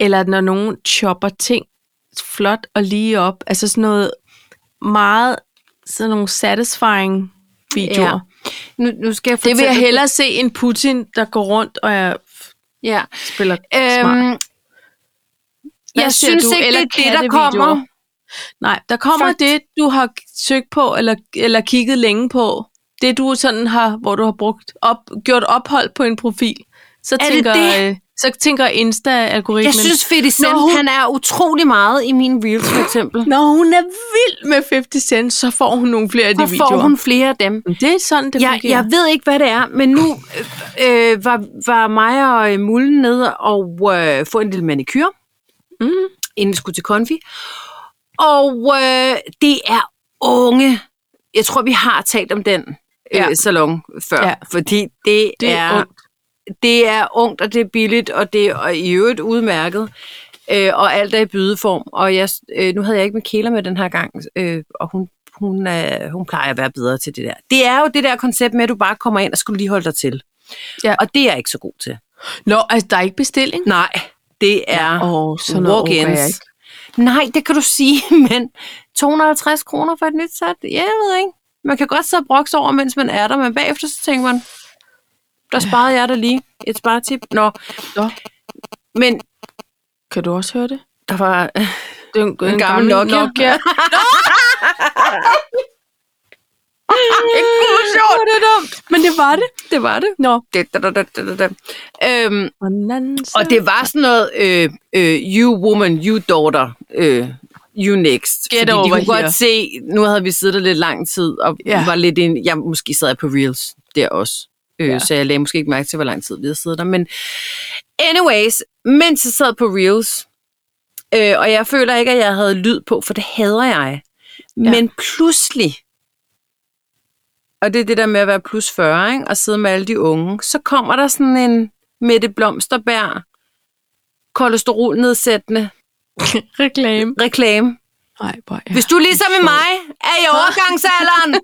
S2: eller når nogen chopper ting flot og lige op. Altså sådan noget meget, sådan nogle satisfying videoer. Altså,
S1: Ja. Nu, nu skal jeg
S2: Det vil jeg
S1: fortælle-
S2: hellere se en Putin, der går rundt og er,
S1: Ja.
S2: spiller øhm, smart.
S1: Øhm, jeg
S2: ser
S1: synes
S2: du?
S1: ikke,
S2: Eller
S1: det er det, der
S2: kattevideoer?
S1: kommer.
S2: Nej, der kommer
S1: Fakt-
S2: Fakt. det, du har søgt på, eller, eller kigget længe på. Det, du sådan har, hvor du har brugt op, gjort ophold på en profil. Så
S1: det
S2: tænker,
S1: det?
S2: Øh, så tænker Insta-algoritmen,
S1: Jeg synes, Fetty Cent,
S2: Nå, hun-
S1: han er utrolig meget i mine reels, for eksempel.
S2: når hun er vild med 50 Cent, så får hun nogle flere af de
S1: Så får
S2: videoer.
S1: hun flere af dem.
S2: Det er sådan, det
S1: Jeg,
S2: fungerer.
S1: jeg ved ikke, hvad det er, men nu øh, øh, var, var mig og øh, Mullen nede og øh, få en lille manikyr,
S2: Mhm.
S1: inden vi skulle til konfi. Og øh, det er unge. Jeg tror, vi har talt om den øh,
S2: Ja.
S1: salon før,
S2: Ja.
S1: fordi det,
S2: Det er
S1: er
S2: ungt.
S1: det er ungt, og det er billigt, og det er i øvrigt udmærket. øh, og alt er i bydeform. Og jeg, øh, nu havde jeg ikke med Kæler med den her gang, øh, og hun, hun, øh, hun plejer at være bedre til det der. Det er jo det der koncept med, at du bare kommer ind og skulle lige holde dig til.
S2: Ja.
S1: Og det er jeg ikke så god til.
S2: Nå, altså, der er ikke bestilling?
S1: Nej, det er
S2: Åh, sådan noget orker jeg
S1: walk-ins.
S2: ikke.
S1: Nej, det kan du sige, men 250 kroner for et nyt sæt? Ja, jeg ved ikke. Man kan godt sidde og brokse over, mens man er der, men bagefter så tænker man, der sparede jeg der lige et sparetip. Nå,
S2: Nå,
S1: men
S2: kan du også høre det?
S1: der var...
S2: Det er en,
S1: En gammel Nokia.
S2: Nokia.
S1: Ikke
S2: sjovt. Det er dumt. Men det var det.
S1: Det var det.
S2: Nå.
S1: det da, da, da, da, da, da. Øhm, og
S2: Og det
S1: det var sådan noget, øh, øh, you woman, you daughter, øh, you next.
S2: Get
S1: Fordi
S2: over
S1: de kunne
S2: here.
S1: godt se, nu havde vi siddet der lidt lang tid, og
S2: Ja.
S1: ja. var lidt ind, jeg måske sad jeg på reels der også. Øh,
S2: Ja.
S1: ja. Så jeg lagde måske ikke mærke til, hvor lang tid vi havde siddet der. Men anyways, mens jeg sad på reels, øh, og jeg føler ikke, at jeg havde lyd på, for det hader jeg.
S2: Ja.
S1: Ja. Men pludselig, og det er det der med at være plus 40, ikke? og sidde med alle de unge, så kommer der sådan en Mette Blomsterbær, kolesterolnedsættende
S2: reklame.
S1: reklame.
S2: Nej, hvor ja.
S1: Hvis du ligesom med mig er i overgangsalderen,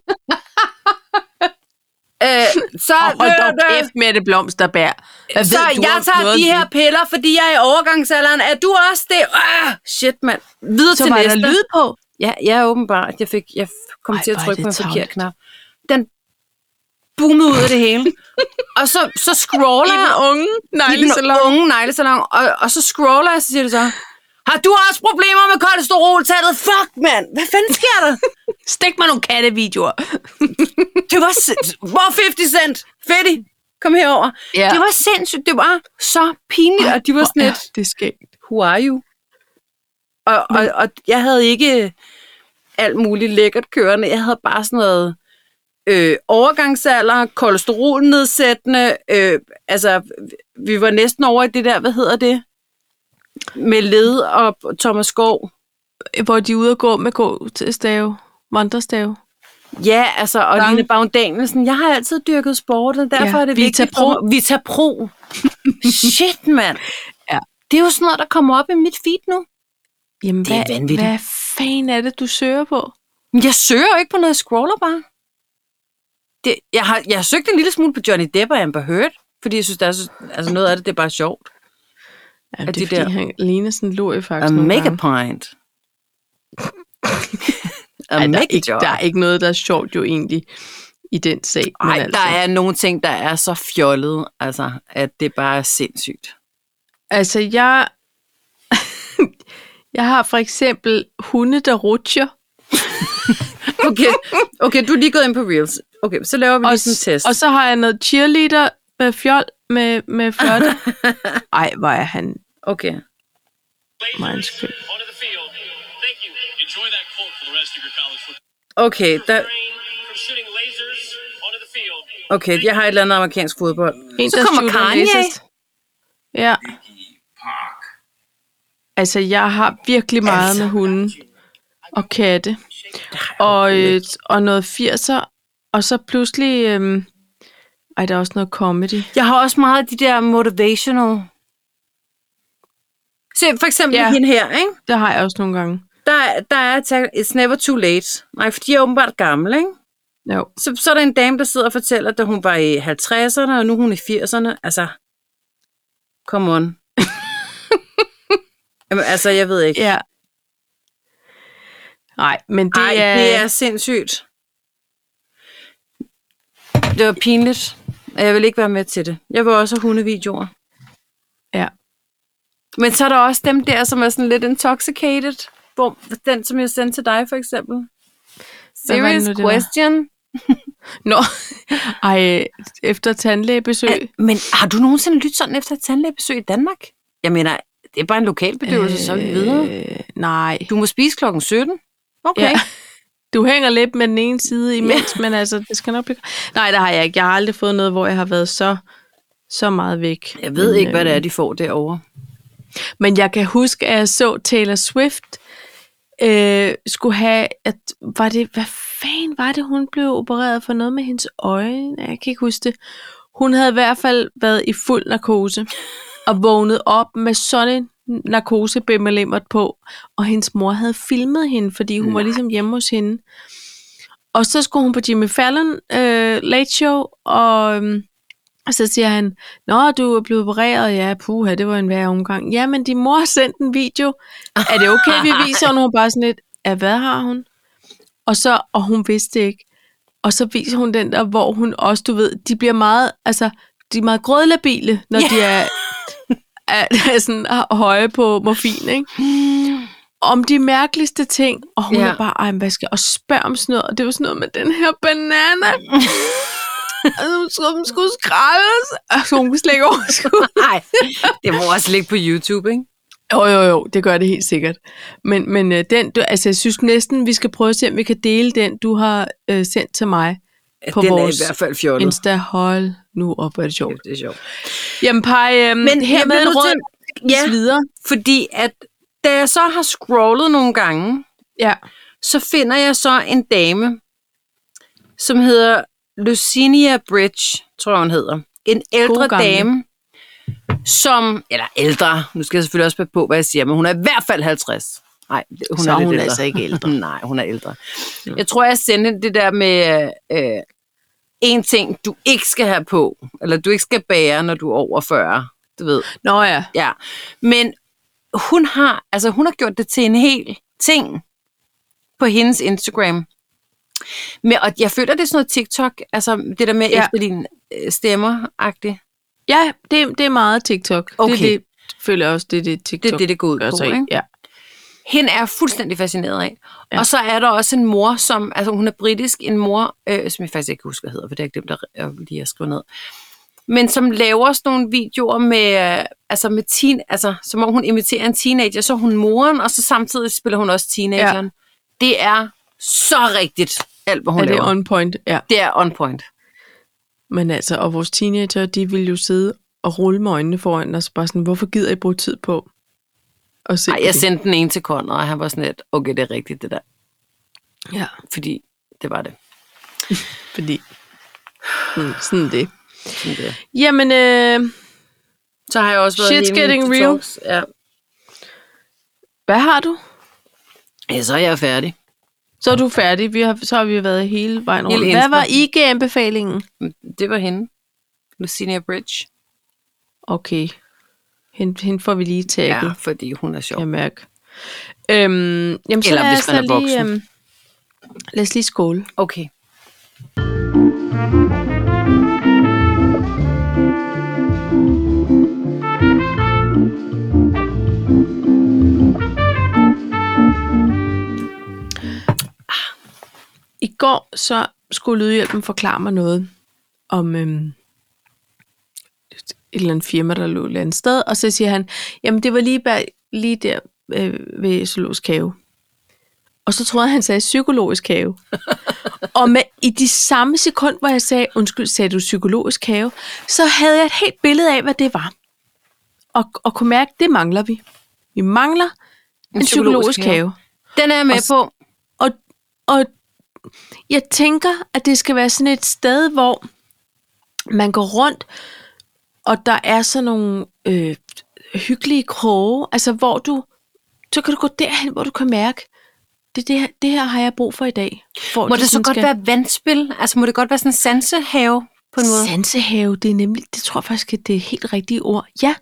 S1: øh, så,
S2: Hold
S1: hører
S2: dog
S1: du-
S2: kæft med det blomsterbær. Hvad
S1: så
S2: ved du
S1: jeg
S2: om
S1: tager
S2: noget?
S1: de her piller, fordi jeg er i overgangsalderen. Er du også det? Øh, shit, mand. Videre
S2: Så
S1: til
S2: var
S1: næste.
S2: der lyd på.
S1: Ja, jeg er åbenbart. Jeg, fik, jeg f- kom
S2: Ej,
S1: Ej, til at
S2: hvor er
S1: trykke
S2: det
S1: på en forkert
S2: tarveligt.
S1: knap. Den boomede ud af det hele. og så, så scroller jeg
S2: unge
S1: i den unge neglesalon, og, og så scroller jeg, så siger det så, har du også problemer med kolesteroltallet? Fuck, mand! Hvad fanden sker der?
S2: Stik mig nogle kattevideoer.
S1: det var sindssygt. Hvor 50 cent? Fetty, kom herover.
S2: Ja.
S1: Ja. Det var sindssygt. Det var så pinligt, og de var sådan
S2: Ja,
S1: lidt,
S2: det er skægt.
S1: who are you? Og, og, og jeg havde ikke øh, alt muligt lækkert kørende. Jeg havde bare sådan noget øh, overgangsalder, kolesterolnedsættende. Øh, altså, vi var næsten over i det der, hvad hedder det? Med led og Thomas Skov.
S2: Hvor de er ude og gå med gåstave, vandrestave.
S1: Ja, altså, og
S2: Bang.
S1: Line Baun Danielsen. Jeg har altid dyrket sport, og derfor
S2: Ja,
S1: er det
S2: Vita
S1: vigtigt.
S2: Pro.
S1: for mig- Vita Pro. Shit, mand.
S2: Ja.
S1: Det er jo sådan noget, der kommer op i mit feed nu.
S2: Jamen,
S1: Det er
S2: hvad,
S1: vanvittigt.
S2: hvad fanden er det, du søger på?
S1: Men Jeg søger jo ikke på noget, jeg scroller bare. Det, jeg, har, jeg har søgt en lille smule på Johnny Depp og Amber Heard, fordi jeg synes, der er, så- altså noget af det, det er bare sjovt.
S2: Jamen,
S1: Er
S2: det er,
S1: de
S2: fordi,
S1: der-
S2: han ligner sådan en lorie
S1: A
S2: faktisk nogle
S1: mega
S2: gange.
S1: pint. A
S2: Ej, der, er
S1: mega
S2: ikke,
S1: job.
S2: der er ikke noget, der er sjovt jo egentlig i den sag. altså.
S1: Ej, der er nogle ting, der er så fjollede, altså, at det bare er sindssygt.
S2: Altså, jeg... jeg har for eksempel hunde, der rutscher.
S1: Okay, okay du er lige gået ind på Reels. Okay, så laver vi lige sådan en test.
S2: og så har jeg noget cheerleader med fjol med, med flotte. Ej, hvor er han
S1: Okay.
S2: mindskøb.
S3: onto the field. Thank you. Enjoy that quote for the rest of your college football.
S1: Okay, der,
S3: Refrain from shooting lasers onto the field.
S1: okay, jeg har et eller andet amerikansk fodbold.
S2: En,
S1: Så
S2: der
S1: kommer
S2: shooter
S1: Kanye.
S2: lasers. Ja. Altså, jeg har virkelig meget altså. med hunde og katte. Og, øh, og noget 80'er. Og så pludselig... Øhm, ej, der er også noget comedy.
S1: Jeg har også meget af de der motivational. Se, for eksempel
S2: Ja.
S1: yeah. hende her, ikke?
S2: Det har jeg også nogle gange.
S1: Der, der er tag- It's never too late. Nej, for de er åbenbart gamle, ikke?
S2: Jo.
S1: Så, så er der en dame, der sidder og fortæller, at da hun var i 50'erne, og nu er hun i 80'erne. Altså, come on. Jamen, altså, jeg ved ikke.
S2: Ja. Nej, men det,
S1: Ej,
S2: er,
S1: det er sindssygt. Det var pinligt. og Jeg vil ikke være med til det. Jeg vil også have hundevideoer.
S2: Ja.
S1: Men så er der også dem der, som er sådan lidt intoxicated. Hvor, den, som jeg sendte til dig, for eksempel.
S2: Hvad var det
S1: Serious
S2: nu, det var?
S1: question.
S2: Nå, ej, efter tandlægebesøg.
S1: Ja, Men har du nogensinde lyttet sådan efter et tandlægebesøg i Danmark? Jeg mener, det er bare en lokal bedøvelse, øh, så er vi videre.
S2: Øh, nej.
S1: Du må spise klokken 17. Okay.
S2: Ja. Du hænger lidt med den ene side imens, men altså, det skal nok blive... Nej, der har jeg ikke. Jeg har aldrig fået noget, hvor jeg har været så, så meget væk.
S1: Jeg ved
S2: men,
S1: ikke, hvad
S2: øh,
S1: det er, de får derovre.
S2: Men jeg kan huske, at jeg så Taylor Swift øh, skulle have, at var det, hvad fanden var det, hun blev opereret for noget med hendes øjne? Jeg kan ikke huske det. Hun havde i hvert fald været i fuld narkose og vågnet op med sådan en narkosebimmelimert på, og hendes mor havde filmet hende, fordi hun Nej. var ligesom hjemme hos hende. Og så skulle hun på Jimmy Fallon øh, Late Show, og øhm, så siger han, Nå, du er blevet opereret, ja, puha, det var en værre omgang. Ja, men din mor sendte en video. Er det okay, vi viser hende? Hun var bare sådan lidt, ja, hvad har hun? Og så, og hun vidste ikke. Og så viser hun den der, hvor hun også, du ved, de bliver meget, altså, de er meget grødlabile, når yeah. de er, er, er sådan høje på morfin, ikke? om de mærkeligste ting, og hun
S1: Ja.
S2: ja. er bare, ej, men hvad skal jeg, og spørg om sådan noget, og det var sådan noget med den her banana, altså, hun skulle, hun skulle skraldes, altså, hun kunne slet ikke overskue.
S1: Nej, det må også ligge på YouTube, ikke?
S2: Jo, jo, jo, det gør det helt sikkert. Men, men øh, den, du, altså, jeg synes næsten, vi skal prøve at se, om vi kan dele den, du har øh, sendt til mig på
S1: Den
S2: vores
S1: er i hvert fald fjollet.
S2: Insta. Hold nu op, hvor er det sjovt.
S1: Det er sjovt.
S2: Jamen, Paj, øh,
S1: Men
S2: men
S1: jeg
S2: her med
S1: bliver
S2: en
S1: nødt
S2: råd,
S1: til- Ja.
S2: ja. videre.
S1: Fordi at, da jeg så har scrollet nogle gange,
S2: Ja.
S1: så finder jeg så en dame, som hedder Lucinia Bridge, tror jeg, hun hedder. En ældre
S2: gamle.
S1: dame, som, eller ældre, nu skal jeg selvfølgelig også passe på, hvad jeg siger, men hun er i hvert fald 50. Nej, det- hun
S2: Så
S1: er
S2: er
S1: lidt
S2: hun
S1: ældre.
S2: altså ikke ældre.
S1: Nej, hun er ældre. Jeg tror, jeg sendte hende det der med øh, en ting, du ikke skal have på, eller du ikke skal bære, når du er over 40. Du ved.
S2: Nå ja,
S1: Ja, men hun har, altså hun har gjort det til en hel ting på hendes Instagram. Men, og jeg føler, det er sådan noget TikTok, altså det der med ja.
S2: Ja.
S1: efterligne øh, stemmer-agtigt.
S2: ja det, det er meget TikTok.
S1: Okay.
S2: Det, det føler jeg også, det er det, TikTok
S1: Det er det, det går ud
S2: gør
S1: på,
S2: sig i.
S1: ikke?
S2: Ja.
S1: Hende er jeg fuldstændig fascineret af. Ja.
S2: Ja.
S1: Og så er der også en mor, som, altså hun er britisk, en mor, øh, som jeg faktisk ikke husker, hvad hedder, for det er ikke dem, der jeg lige har skrevet ned. Men som laver sådan nogle videoer med, øh, altså med teen, altså som om hun imiterer en teenager, så er hun moren, og så samtidig spiller hun også teenageren. Ja. Det er så rigtigt, alt hvad hun
S2: Er det
S1: laver.
S2: on point? Ja.
S1: det er on point.
S2: Men altså, og vores teenager, de ville jo sidde og rulle med øjnene foran os, bare sådan, hvorfor gider I bruge tid på at se
S1: Ej,
S2: på
S1: jeg
S2: det?
S1: sendte den ene til Conrad, og han var sådan lidt, okay, det er rigtigt det der,
S2: Ja,
S1: fordi det var det.
S2: fordi mm, sådan er det.
S1: Sådan det. er.
S2: Jamen, øh,
S1: Så har jeg også været
S2: Shit's
S1: hjemme
S2: getting
S1: til
S2: real.
S1: talks. Ja.
S2: hvad har du?
S1: ja, så er jeg færdig.
S2: Så er du færdig. Vi har, så har vi været hele vejen rundt.
S1: Hele
S2: Hvad
S1: Insta.
S2: var IG-anbefalingen?
S1: Det var hende. Lucinia Bridge.
S2: Okay. Hende, hende får vi lige tagget,
S1: Ja,
S2: ja.
S1: fordi hun er sjov.
S2: jeg mærker. Øhm, jamen, så
S1: Eller
S2: lad
S1: hvis
S2: os
S1: man
S2: da
S1: er voksen.
S2: lige, øhm, lad os lige skåle.
S1: Okay.
S2: I går så skulle Lydhjælpen forklare mig noget om øhm, et eller andet firma, der lå et eller andet sted, og så siger han, jamen det var lige, bag, lige der øh, ved Zoologisk Have. Og så troede jeg, han sagde psykologisk have. og med, i de samme sekund, hvor jeg sagde, undskyld, sagde du psykologisk have, så havde jeg et helt billede af, hvad det var. Og, og kunne mærke, det mangler vi. Vi mangler en, en
S1: psykologisk
S2: psykologisk,
S1: have.
S2: psykologisk have.
S1: Den er jeg med
S2: Og s-
S1: på.
S2: Og, og jeg tænker, at det skal være sådan et sted, hvor man går rundt, og der er sådan nogle øh, hyggelige kroge, altså hvor du, så kan du gå derhen, hvor du kan mærke, det, det, her, det her har jeg brug for i dag. Hvor
S1: Må
S2: du
S1: det så
S2: sådan
S1: godt
S2: skal-
S1: være vandspil? Altså, må det godt være sådan en sansehave på en måde?
S2: Sansehave, det er nemlig, det tror jeg faktisk, at det er helt rigtige ord. Ja,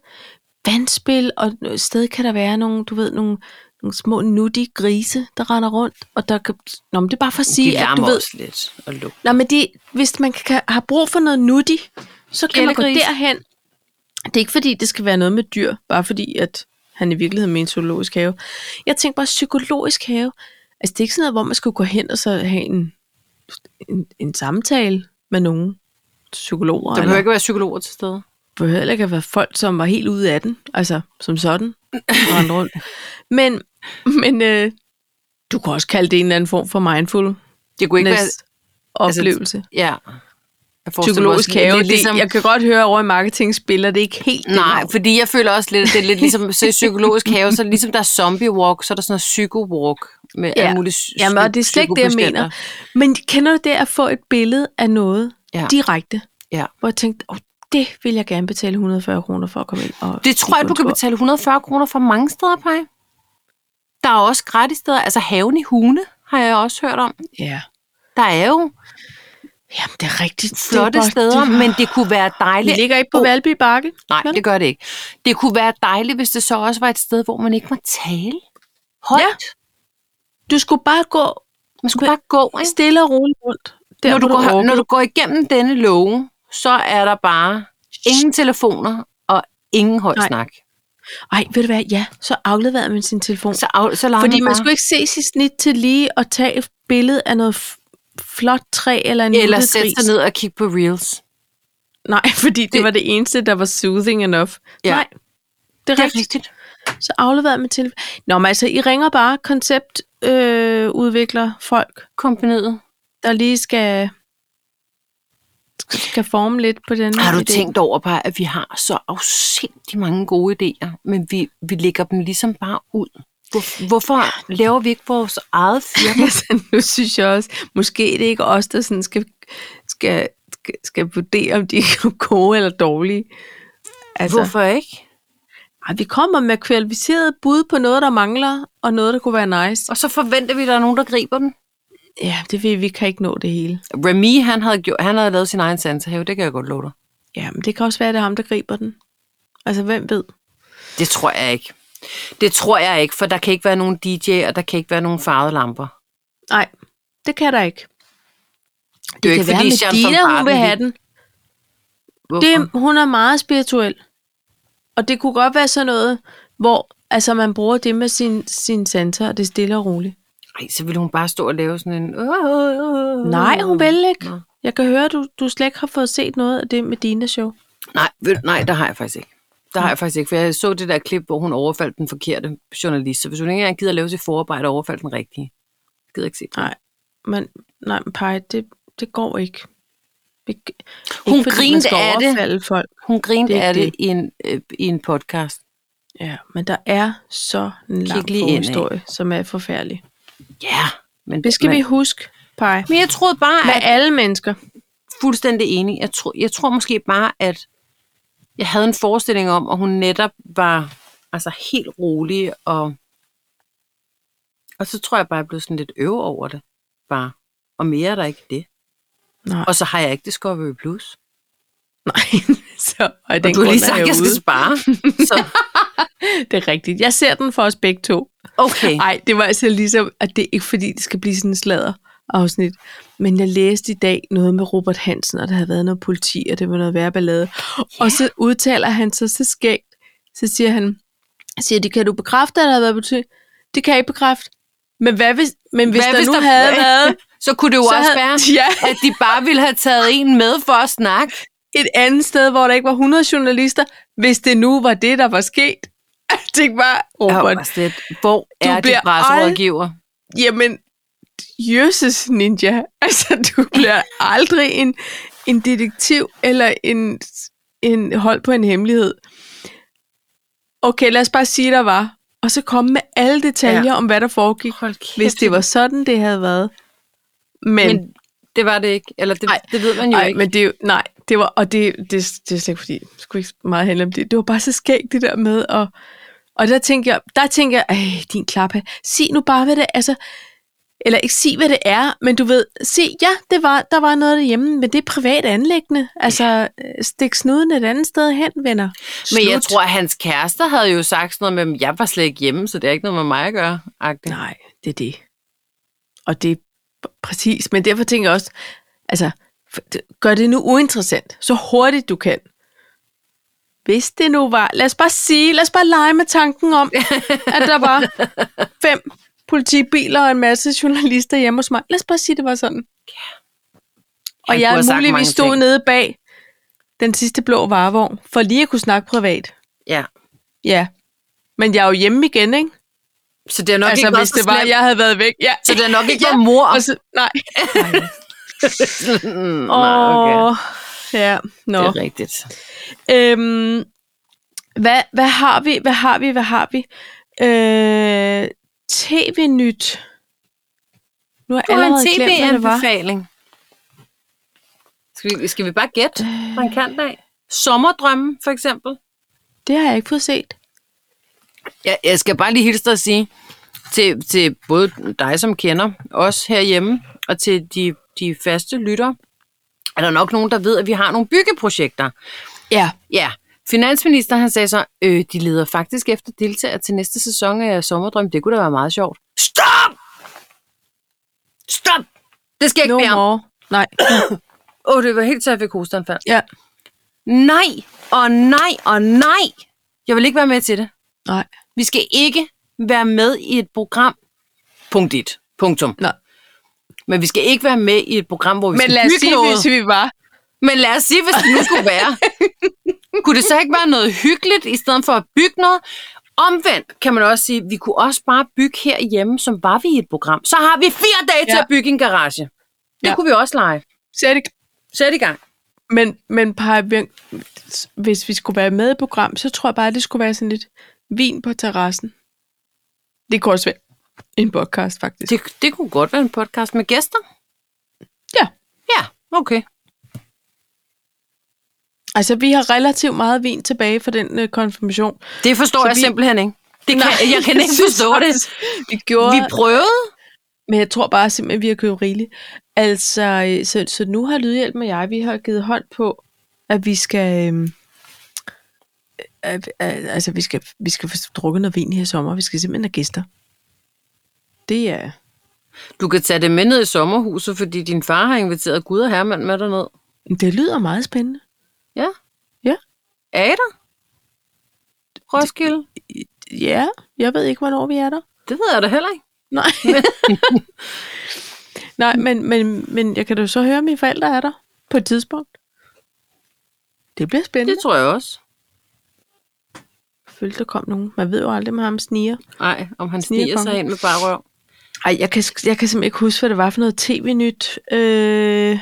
S2: vandspil, og et sted kan der være nogle, du ved, nogle, nogle små nuttige grise, der render rundt, og der kan, nå, men det er bare for at sige,
S1: De
S2: at
S1: larmer
S2: du ved,
S1: også lidt og lugter.
S2: Nå, men det, hvis man kan, har brug for noget nutty, så kan man gå
S1: Kælegris.
S2: derhen. Det er ikke fordi, det skal være noget med dyr, bare fordi, at han i virkeligheden mener zoologisk have. Jeg tænker bare, psykologisk have, altså det er ikke sådan noget, hvor man skulle gå hen og så have en, en, en samtale med nogen psykologer.
S1: Der
S2: eller-
S1: behøver ikke være psykologer til stede.
S2: behøver heller ikke at være folk, som var helt ude af den, altså som sådan, og rendte rundt. Men, men øh, du kan også kalde det en eller anden form for mindful
S1: Det kunne ikke være... altså,
S2: oplevelse.
S1: Ja. Jeg forestiller mig
S2: Psykologisk
S1: også lidt-
S2: have,
S1: lidt
S2: det, ligesom... jeg kan godt høre over i marketing spiller, det er ikke helt
S1: Nej,
S2: det
S1: fordi jeg føler også lidt, at det er lidt ligesom så i psykologisk have, så er det ligesom der er zombie walk, så er der sådan noget psyko walk med ja. alle mulige psy-
S2: Jamen, og det er slet ikke det, jeg mener. Men kender du det at få et billede af noget
S1: Ja.
S2: ja. direkte?
S1: Ja.
S2: Hvor jeg tænkte, oh, det det vil jeg gerne betale 140 kroner for at komme ind. Og
S1: Det tror jeg,
S2: kigge
S1: du
S2: på
S1: kan
S2: en tur.
S1: betale 140 kroner for mange steder, Paj. Der er også gratis steder. Altså haven i Hune har jeg også hørt om.
S2: Ja.
S1: Der er jo
S2: Jamen, det er rigtigt. Det er
S1: flotte
S2: bare-
S1: steder,
S2: det-
S1: men det kunne være
S2: Det
S1: dejligt.
S2: ligger ikke på
S1: Åh,
S2: Valby Bakke.
S1: Nej,
S2: Vel?
S1: det gør det ikke. Det kunne være dejligt, hvis det så også var et sted, hvor man ikke må tale. Højt.
S2: Ja. Du skulle bare gå
S1: Man skulle bare gå, ikke?
S2: stille og roligt rundt. Der,
S1: når, du
S2: hvor
S1: går, her-
S2: orker.
S1: når du går igennem denne låge, så er der bare ingen telefoner og ingen høj
S2: Nej.
S1: snak.
S2: Ej, ved du hvad? Ja, så afleverede man sin telefon.
S1: Så, af, så lader
S2: Fordi man
S1: bare.
S2: skulle ikke se sit snit til lige at tage et billede af noget f- flot træ eller en
S1: Eller
S2: lille
S1: sætte
S2: gris.
S1: sig ned og kigge på reels.
S2: Nej, fordi det,
S1: Det-
S2: det var det eneste, der var soothing enough.
S1: Ja.
S2: Nej, det er, det er rigtigt.
S1: rigtigt.
S2: Så afleverede man til. Nå, men altså, I ringer bare konceptudvikler øh, udvikler folk,
S1: Kombineret.
S2: der lige skal, skal forme lidt på den
S1: Har du
S2: idé.
S1: tænkt over bare, at vi har så afsindig mange gode idéer, men vi, vi lægger dem ligesom bare ud? Hvor, hvorfor laver vi ikke vores eget firma?
S2: altså, nu synes jeg også, måske det er ikke os, der sådan skal, skal, skal, skal vurdere, om de er gode eller dårlige. Altså,
S1: Hvorfor ikke?
S2: Ej, vi kommer med kvalificeret bud på noget, der mangler, og noget, der kunne være nice.
S1: Og så forventer vi, at der er nogen, der griber den.
S2: Ja, det ved vi, vi kan ikke nå det hele.
S1: Remy, han havde, gjort, han havde lavet sin egen sansehave, det kan jeg godt love dig.
S2: Ja, men det kan også være, at det er ham, der griber den. Altså, hvem ved?
S1: Det tror jeg ikke. Det tror jeg ikke, for der kan ikke være nogen DJ, og der kan ikke være nogen farvede lamper.
S2: Nej, det kan der ikke.
S1: Det, det er jo ikke,
S2: kan
S1: fordi
S2: være,
S1: Jean
S2: Medina,
S1: van
S2: hun vil have den.
S1: Hvorfor?
S2: Det, hun er meget spirituel. Og det kunne godt være sådan noget, hvor altså, man bruger det med sin, sin sanser, og det er stille og roligt.
S1: Ej, så ville hun bare stå og lave sådan en...
S2: Nej, hun vil ikke.
S1: Nå.
S2: Jeg kan høre, du, du slet ikke har fået set noget af det med dine show.
S1: Nej, ved, nej, der har jeg faktisk ikke. Der har jeg faktisk ikke, for jeg så det der klip, hvor hun overfaldt den forkerte journalist. Så hvis hun ikke engang gider lave sit forarbejde og overfaldt den rigtige, jeg gider ikke se det.
S2: Nej, men, nej, men Paj, det, det går ikke. ikke
S1: Hun
S2: ikke fordi
S1: grinte
S2: man skal
S1: af det.
S2: overfalde folk.
S1: Hun grinte
S2: Det er
S1: af
S2: ikke
S1: det, i, en, øh, i en podcast.
S2: Ja, men der er så en lang
S1: lige indad.
S2: historie, som er forfærdelig.
S1: Ja, yeah, men
S2: Det skal
S1: men,
S2: vi huske, Paj.
S1: Men jeg troede bare,
S2: Med
S1: at
S2: alle mennesker.
S1: fuldstændig enig. Jeg tror, jeg tror måske bare, at jeg havde en forestilling om, at hun netop var altså helt rolig, og, og så tror jeg bare, jeg blev sådan lidt øve over det. Bare. Og mere er der ikke det.
S2: Nej,
S1: Og så har jeg ikke det Discovery Plus.
S2: nej. Så, og
S1: Den og
S2: den
S1: du har
S2: grund
S1: lige
S2: er
S1: sagt, at jeg skal
S2: ude.
S1: spare. Så,
S2: Det er rigtigt. Jeg ser den for os begge to.
S1: okay.
S2: Nej, det var altså ligesom, at det er ikke fordi, det skal blive sådan en sladder afsnit. Men jeg læste i dag noget med Robert Hansen, og der havde været noget politi, og det var noget værre ballade. Og så udtaler han sig så skægt. Så siger han, siger de, kan du bekræfte, at der har været politi? Det kan jeg ikke bekræfte. Men hvad hvis, men hvis
S1: Hvad
S2: der
S1: hvis
S2: nu
S1: der-
S2: havde været...
S1: Så kunne det jo
S2: så
S1: også
S2: havde-
S1: være,
S2: Ja.
S1: at de bare ville have taget en med for at snakke.
S2: et andet sted, hvor der ikke var 100 journalister, hvis det nu var det, der var sket. Jeg tænkte bare,
S1: Jeg var
S2: Robert,
S1: bare sådan lidt, Hvor
S2: Du
S1: er de
S2: bliver
S1: presserådgiver?
S2: jamen, jøsses ninja, altså du bliver aldrig en, en detektiv eller en, en hold på en hemmelighed. Okay, lad os bare sige, der var. Og så komme med alle detaljer ja. om, hvad der foregik,
S1: Hold kæft,
S2: hvis det var sådan, det havde været. Men, men
S1: Men det var det ikke. Eller det,
S2: Nej.
S1: det ved man jo
S2: Nej,
S1: ikke.
S2: men det er jo, nej, det var, og det, det, det er slet ikke fordi, det skulle ikke meget handle om det. Det var bare så skægt det der med, og, og der tænker jeg, der tænker jeg, "Ej, din klappe, sig nu bare, hvad det altså, eller ikke sig, hvad det er, men du ved, se, ja, det var, der var noget derhjemme, men det er privat anlæggende. Altså, øh, stik snuden et andet sted hen, venner. Slut.
S1: Men jeg tror, at hans kærester havde jo sagt sådan noget med, at jeg var slet ikke hjemme, så det er ikke noget med mig at gøre. Agtigt.
S2: Nej, det er det. Og det er p- præcis, men derfor tænker jeg også, altså, f- d- gør det nu uinteressant, så hurtigt du kan. Hvis det nu var, lad os bare sige, lad os bare lege med tanken om, at der var fem politibiler og en masse journalister hjemme hos mig. Lad os bare sige, det var sådan. Og
S1: Han kunne
S2: jeg
S1: have sagt
S2: muligvis
S1: mange
S2: stod
S1: ting.
S2: nede bag den sidste blå varevogn, for lige at kunne snakke privat.
S1: Ja.
S2: Ja. Men jeg er jo hjemme igen, ikke?
S1: Så det er nok
S2: altså,
S1: ikke
S2: hvis
S1: så
S2: det var,
S1: slemt.
S2: jeg havde været væk. Ja.
S1: Så det er nok ikke
S2: Ja.
S1: ja. mor.
S2: Og så, nej.
S1: mm,
S2: Åh,
S1: nej, okay.
S2: oh, ja, nå.
S1: Det er rigtigt.
S2: Øhm, hvad, hvad har vi, hvad har vi, hvad har vi? Øh, TV-nyt. Nu har
S1: Du
S2: jeg
S1: har en
S2: allerede glemt, hvad det var. Øh.
S1: tv-anbefaling. Skal vi, skal vi bare gætte fra en kant af? Sommerdrømme, for eksempel.
S2: Det har jeg ikke fået set.
S1: Jeg, jeg skal bare lige hilse dig og sige til, til både dig, som kender os herhjemme, og til de, de faste lyttere, er der nok nogen, der ved, at vi har nogle byggeprojekter.
S2: Ja.
S1: Ja, finansminister han sagde så, øh, de leder faktisk efter deltagere til næste sæson af Sommerdrøm. Det kunne da være meget sjovt. Stop! Stop! Det skal jeg ikke
S2: No
S1: no mere om.
S2: more. Nej.
S1: Åh, oh, det var helt så, jeg fik hosteanfald.
S2: Ja.
S1: Nej, og nej, og nej. Jeg vil ikke være med til det.
S2: Nej.
S1: Vi skal ikke være med i et program. Punkt 1. Punktum.
S2: Nej.
S1: Men vi skal ikke være med i et program, hvor vi
S2: Men
S1: skal
S2: lad os
S1: bygge
S2: sige,
S1: noget.
S2: hvis vi var.
S1: Men lad os sige, hvis det nu skulle være. kunne det så ikke være noget hyggeligt, i stedet for at bygge noget? Omvendt kan man også sige, at vi kunne også bare bygge herhjemme, som var vi i et program. Så har vi fire dage ja. til
S2: Ja.
S1: at bygge en garage. Det
S2: Ja.
S1: kunne vi også lege.
S2: Sæt i-
S1: Sæt i gang.
S2: Men, men Paj Bjørn, hvis vi skulle være med i et program, så tror jeg bare, det skulle være sådan lidt vin på terrassen. Det kunne også være en podcast, faktisk.
S1: Det, det kunne godt være en podcast med gæster.
S2: Ja.
S1: Ja, okay.
S2: Altså, vi har relativt meget vin tilbage fra den øh, konfirmation.
S1: Det forstår
S2: Så
S1: jeg
S2: vi-
S1: simpelthen ikke. Det kan, jeg kan ikke
S2: synes
S1: forstå det.
S2: faktisk, Vi gjorde,
S1: Vi prøvede.
S2: men jeg tror bare simpelthen, vi har købt rigeligt. Altså, øh, så, så nu har Lydhjælp og jeg, vi har givet hånd på, at vi skal... øhm, at, at, altså, vi skal, vi skal få drukket noget vin her i sommer. Vi skal simpelthen have gæster. Det er...
S1: Du kan tage det med ned i sommerhuset, fordi din far har inviteret Gud og Herman med derned.
S2: Det lyder meget spændende.
S1: Ja.
S2: Ja.
S1: Er I der? Roskilde? Det,
S2: Ja, jeg ved ikke, hvornår vi er der.
S1: det ved jeg da heller ikke.
S2: Nej. Nej, men, men, men jeg kan da så høre, at mine forældre er der på et tidspunkt. Det bliver spændende.
S1: Det tror jeg også.
S2: Selvfølgelig, der kom nogen. Man ved jo aldrig med ham sniger.
S1: Nej, om han
S2: Sniger
S1: sniger
S2: på
S1: sig
S2: mig.
S1: ind med bare røv.
S2: Ej, jeg kan, jeg kan simpelthen ikke huske, hvad det var for noget tv-nyt. Øh,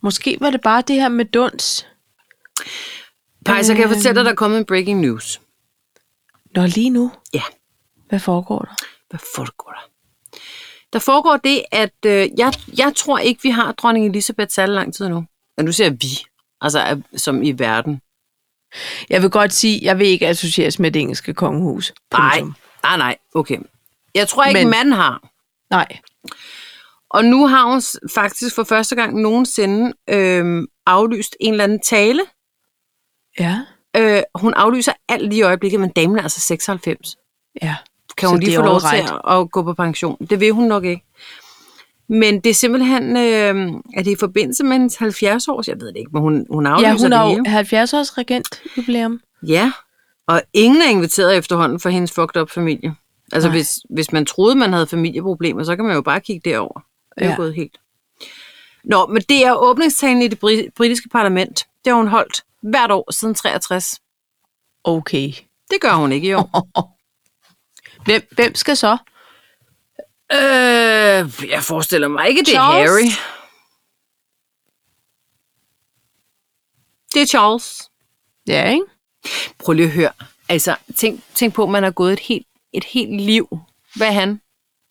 S2: måske var det bare det her med duns.
S1: Pej, så kan jeg
S2: Øhm.
S1: fortælle dig, der er kommet en breaking news.
S2: Nå, lige nu.
S1: Ja.
S2: Hvad foregår der?
S1: Hvad foregår der? Der foregår det, at øh, jeg, jeg tror ikke, vi har dronning Elisabeth særlig lang tid nu. Men nu ser vi, altså at- som i verden.
S2: Jeg vil godt sige, jeg vil ikke associeres med det engelske kongehus.
S1: Nej,
S2: Punktum.
S1: nej, Ah, nej, okay. Jeg tror ikke, Men...
S2: Men-
S1: manden har.
S2: Nej.
S1: Og nu har hun s- faktisk for første gang nogensinde øh, aflyst en eller anden tale.
S2: Ja.
S1: Øh, hun aflyser alt lige i øjeblikket, men damen er altså 96.
S2: Ja.
S1: Kan
S2: Så
S1: hun
S2: det
S1: lige
S2: er
S1: få lov til
S2: alright.
S1: at, at gå på pension? Det vil hun nok ikke. Men det er simpelthen, øh, er det i forbindelse med hendes 70 års, jeg ved det ikke, men hun, hun aflyser
S2: Ja, hun
S1: det
S2: er jo
S1: hele.
S2: 70 års regent jubilæum.
S1: Ja, og ingen er inviteret efterhånden for hendes fucked up familie. Altså
S2: Nej.
S1: hvis, hvis man troede, man havde familieproblemer, så kan man jo bare kigge derover. Det er ja.
S2: Ja.
S1: jo gået helt. Nå, men det er åbningstalen i det bri- britiske parlament. Det har hun holdt hvert år siden 63.
S2: Okay.
S1: Det gør hun ikke i år.
S2: Hvem, hvem skal så?
S1: Øh, jeg forestiller mig ikke, det er
S2: Charles?
S1: Harry. Det er Charles.
S2: Ja, ikke?
S1: Prøv lige at høre. Altså, tænk, tænk på, at man har gået et helt, et helt liv. Hvad er han?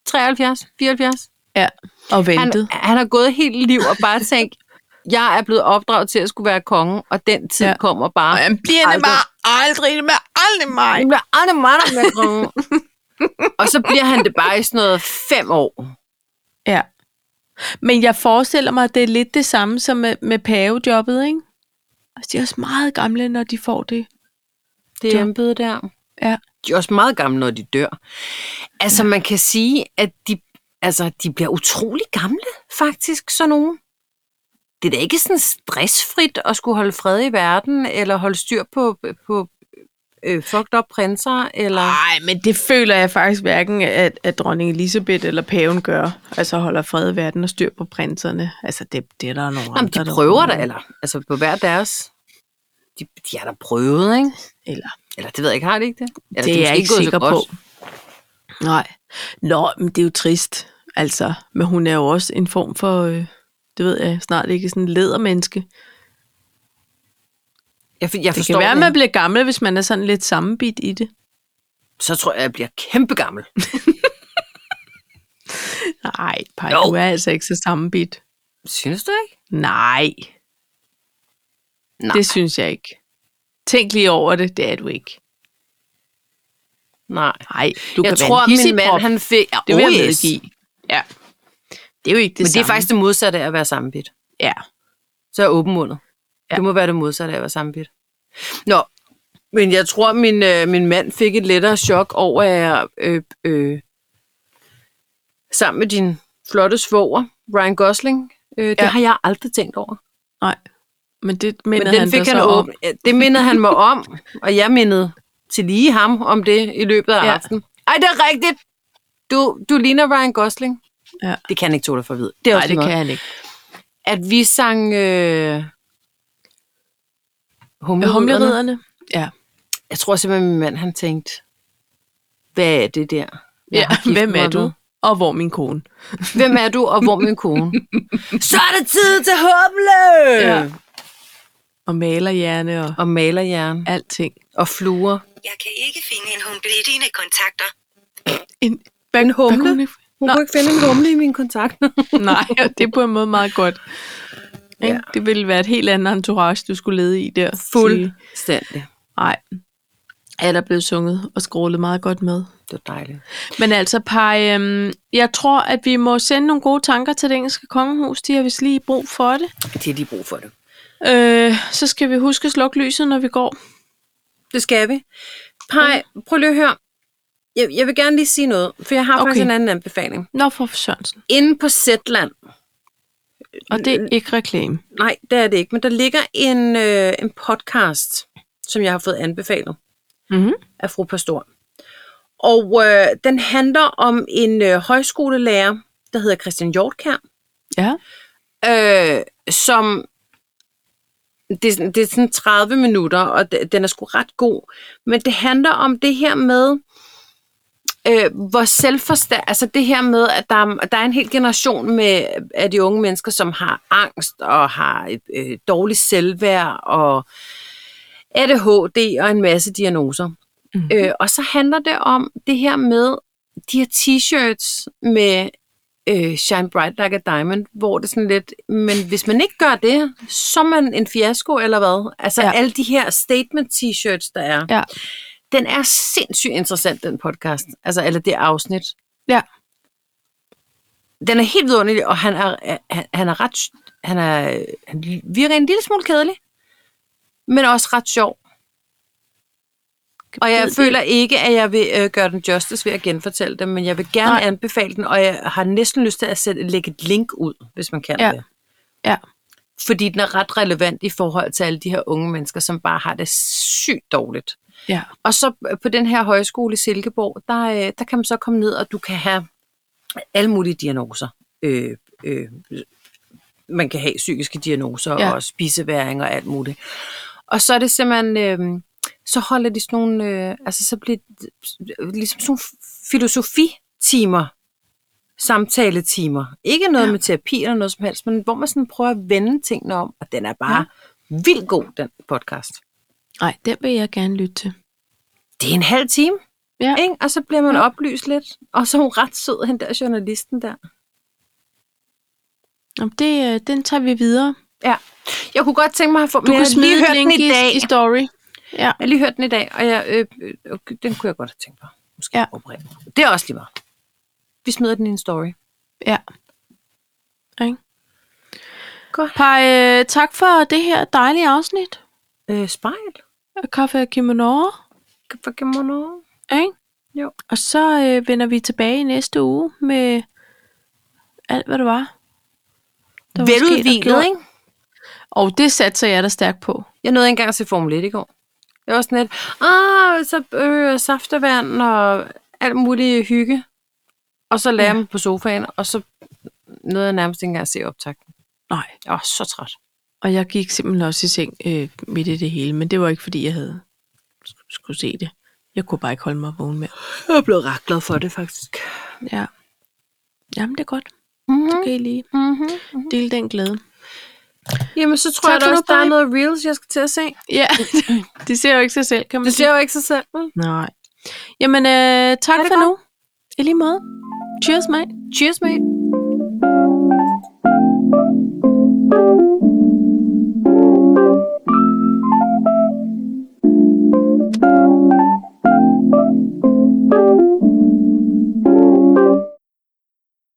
S1: 73? 74?
S2: Ja, og ventet.
S1: Han,
S2: Han,
S1: han har gået et helt liv og bare tænkt, jeg er blevet opdraget til at skulle være konge, og den tid ja.
S2: Ja.
S1: kommer bare.
S2: han bliver det
S1: Aldrig.
S2: bare aldrig, det bliver aldrig mig.
S1: Han bliver aldrig meget med konge. og så bliver han det bare i sådan noget fem år.
S2: Ja. Men jeg forestiller mig, at det er lidt det samme som med, med pavejobbet, ikke? Altså, de er også meget gamle, når de får det.
S1: Det
S2: Ja.
S1: embede der.
S2: Ja.
S1: de er også meget gamle, når de dør. Altså, man kan sige, at de, altså, de bliver utrolig gamle, faktisk, så nogen. Det er da ikke sådan stressfrit at skulle holde fred i verden, eller holde styr på, på øh, fucked up prinser, eller...
S2: Nej, men det føler jeg faktisk hverken, at, at dronning Elisabeth eller paven gør. Altså holder fred i verden og styr på prinserne. Altså, det, det er der nogle
S1: Jamen,
S2: andre,
S1: de
S2: der
S1: prøver
S2: ruller.
S1: da, eller altså på hver deres... De, de har da prøvet, ikke?
S2: Eller
S1: Eller det ved jeg ikke, har de ikke det? Eller,
S2: det er
S1: måske
S2: jeg ikke
S1: gået så
S2: sikker
S1: godt.
S2: på. Nej. Nå, men det er jo trist, altså. Men hun er jo også en form for, øh, det ved jeg snart ikke, sådan en ledermenneske.
S1: Jeg, jeg
S2: Det
S1: forstår
S2: kan være, at
S1: det.
S2: man bliver gammel, hvis man er sådan lidt sammenbit i det.
S1: Så tror jeg, jeg bliver kæmpe gammel.
S2: Nej, Paj,
S1: Jo.
S2: du er altså ikke så sammenbit.
S1: Synes du ikke?
S2: Nej.
S1: Nej.
S2: Det synes jeg ikke. Tænk lige over det, det er du ikke.
S1: Nej.
S2: Nej, du
S1: jeg
S2: kan
S1: tror,
S2: være en
S1: min mand,
S2: hidsigprop.
S1: han fik... Ja,
S2: Det vil
S1: oh,
S2: jeg
S1: yes.
S2: medgive. Ja. Det er jo ikke det
S1: Men det
S2: samme.
S1: er faktisk det modsatte af at være sammenbidt.
S2: Ja.
S1: Så er jeg åbenmundet. Ja. Det må være det modsatte af at være sammenbidt. Nå, men jeg tror, min, øh, min mand fik et lettere chok over, at jeg øh, øh, sammen med din flotte svoger, Ryan Gosling, øh, det
S2: Ja.
S1: har jeg aldrig tænkt over.
S2: Nej. Men det minder
S1: Men den
S2: han
S1: fik
S2: dig
S1: han
S2: så om.
S1: åbent. Ja, Det mindede han mig om, og jeg mindede til lige ham om det i løbet af ja.
S2: Ja.
S1: aftenen. Ej, det er rigtigt. Du, du ligner Ryan Gosling.
S2: Ja.
S1: Det kan han ikke tåle for vid. Det
S2: Nej,
S1: er også
S2: det
S1: lige meget.
S2: kan han ikke.
S1: At vi sang øh,
S2: Med
S1: humleriderne.
S2: humleriderne? Ja.
S1: Jeg tror simpelthen, min mand han tænkte, hvad er det der? jeg
S2: ja.
S1: har gift
S2: Hvem er
S1: mig
S2: du?
S1: med?
S2: Og hvor er min kone?
S1: Hvem er du, og hvor er min kone? Så er det tid til humle!
S2: Ja. Og malerhjerne og
S1: Og malerjern.
S2: alting.
S1: Og fluer.
S4: Jeg kan ikke finde en humble i dine kontakter.
S2: En, hvad, en
S1: humle?
S2: Hvad kunne det-
S1: Hun
S2: Nå.
S1: kunne ikke finde en humle i mine kontakter.
S2: Nej, og det er på en måde meget godt.
S1: Ja.
S2: Ja. Det ville være et helt andet entourage, du skulle lede i der.
S1: Fuldstændig.
S2: Nej. Ja, der blev sunget og skrålet meget godt med.
S1: Det var dejligt.
S2: Men altså, Paj, øhm, jeg tror, at vi må sende nogle gode tanker til det engelske kongehus. De har vist lige brug for det.
S1: De har lige brug for det.
S2: Øh, så skal vi huske at slukke lyset, når vi går.
S1: Det skal vi. Pej, prøv lige at høre. Jeg, jeg vil gerne lige sige noget, for jeg har okay. faktisk
S2: Okay.
S1: en anden anbefaling.
S2: Nå, for Sørensen.
S1: Inde på Zetland,
S2: Og det er ikke reklame.
S1: nej, det er det ikke, men der ligger en, øh, en podcast, som jeg har fået anbefalet
S2: Mhm.
S1: af fru Pastor. Og øh, den handler om en øh, højskolelærer, der hedder Christian Hjortkær,
S2: Ja.
S1: øh, som det, er sådan- det er sådan 30 minutter, og d- den er sgu ret god. Men det handler om det her med, øh, hvor selvforstærk, altså det her med, at der, er- der er en hel generation med, af de unge mennesker, som har angst og har et øh, dårligt selvværd og ADHD og en masse diagnoser. Mm-hmm. Øh, og så handler det om det her med de her t-shirts med øh, Shine Bright Like a Diamond, hvor det er sådan lidt, men hvis man ikke gør det, så er man en fiasko eller hvad? Altså ja.
S2: Ja.
S1: alle de her statement t-shirts, der er.
S2: Ja.
S1: Den er sindssygt interessant, den podcast. Altså, eller det afsnit.
S2: Ja.
S1: Den er helt vidunderlig, og han er, han, han er ret... Han, er, han virker en lille smule kedelig, men også ret sjov. Og jeg
S2: Ved det.
S1: føler ikke, at jeg vil øh, gøre den justice ved at genfortælle den, men jeg vil gerne Nej.
S2: Nej.
S1: anbefale den, og jeg har næsten lyst til at sætte, lægge et link ud, hvis man kan
S2: Ja.
S1: det.
S2: Ja.
S1: Fordi den er ret relevant i forhold til alle de her unge mennesker, som bare har det sygt dårligt.
S2: Ja.
S1: Og så øh, på den her højskole i Silkeborg, der, øh, der kan man så komme ned, og du kan have alle mulige diagnoser. Øh, øh, man kan have psykiske diagnoser ja.
S2: Ja.
S1: og spiseværing og alt muligt. Og så er det simpelthen, øh, så holder de sådan nogle, øh, altså så bliver det ligesom sådan nogle filosofitimer, samtaletimer. Ikke noget ja. med terapi eller noget som helst, men hvor man sådan prøver at vende tingene om, og den er bare ja. vildt god, den podcast.
S2: Nej, den vil jeg gerne lytte til.
S1: Det er en halv time.
S2: Ja.
S1: Ikke? Og så bliver man ja. oplyst lidt. Og så er hun ret sød, hende der journalisten der.
S2: Jamen, det, øh, den tager vi videre.
S1: Ja. Jeg kunne godt tænke mig at få...
S2: Du
S1: men
S2: kan
S1: jeg har lige
S2: smide
S1: hørt
S2: et link
S1: den i dag.
S2: i, i story. Ja.
S1: Jeg har lige hørt den i dag, og jeg, øh, øh, okay, den kunne jeg godt have tænkt mig. Måske
S2: Ja.
S1: ja. oprette. Det er også lige meget. Vi smider den i en story.
S2: Ja. Ikke?
S1: Godt.
S2: Paj, øh, tak for det her dejlige afsnit
S1: Øh, spejl.
S2: af Kaffe og Kimono.
S1: Hvad kan man nå?
S2: Ikke?
S1: Jo.
S2: Og så øh, vender vi tilbage i næste uge med alt, hvad det var. der var sket og
S1: Veludvilet,
S2: gjort.
S1: ikke?
S2: Og det satser jeg da stærkt på.
S1: Jeg nåede ikke engang at se Formel 1 i går. Jeg var sådan lidt, ah, så øh, saftevand og alt muligt hygge. Og så lagde jeg mig på sofaen, og så nåede jeg nærmest ikke engang at se optakten.
S2: Nej.
S1: Jeg var så træt.
S2: Og jeg gik simpelthen også i seng øh, midt i det hele, men det var ikke, fordi jeg havde skulle se det. Jeg kunne bare ikke holde mig vågen mere.
S1: Jeg er blevet ret glad for det, faktisk.
S2: Ja. Jamen, det er godt.
S1: Mm-hmm.
S2: Så kan I lige
S1: Mm-hmm.
S2: dele den glæde.
S1: Jamen, så tror
S2: Tak
S1: jeg da
S2: for nu,
S1: også, der er
S2: Brian.
S1: noget reels, jeg skal til at se.
S2: Ja, det ser jo ikke sig selv, kan man
S1: Det
S2: sige.
S1: ser jo ikke sig selv. vel?
S2: Nej. Jamen, øh, tak
S1: det
S2: for nu.
S1: godt.
S2: I lige måde. Cheers, mate.
S1: Cheers, mate.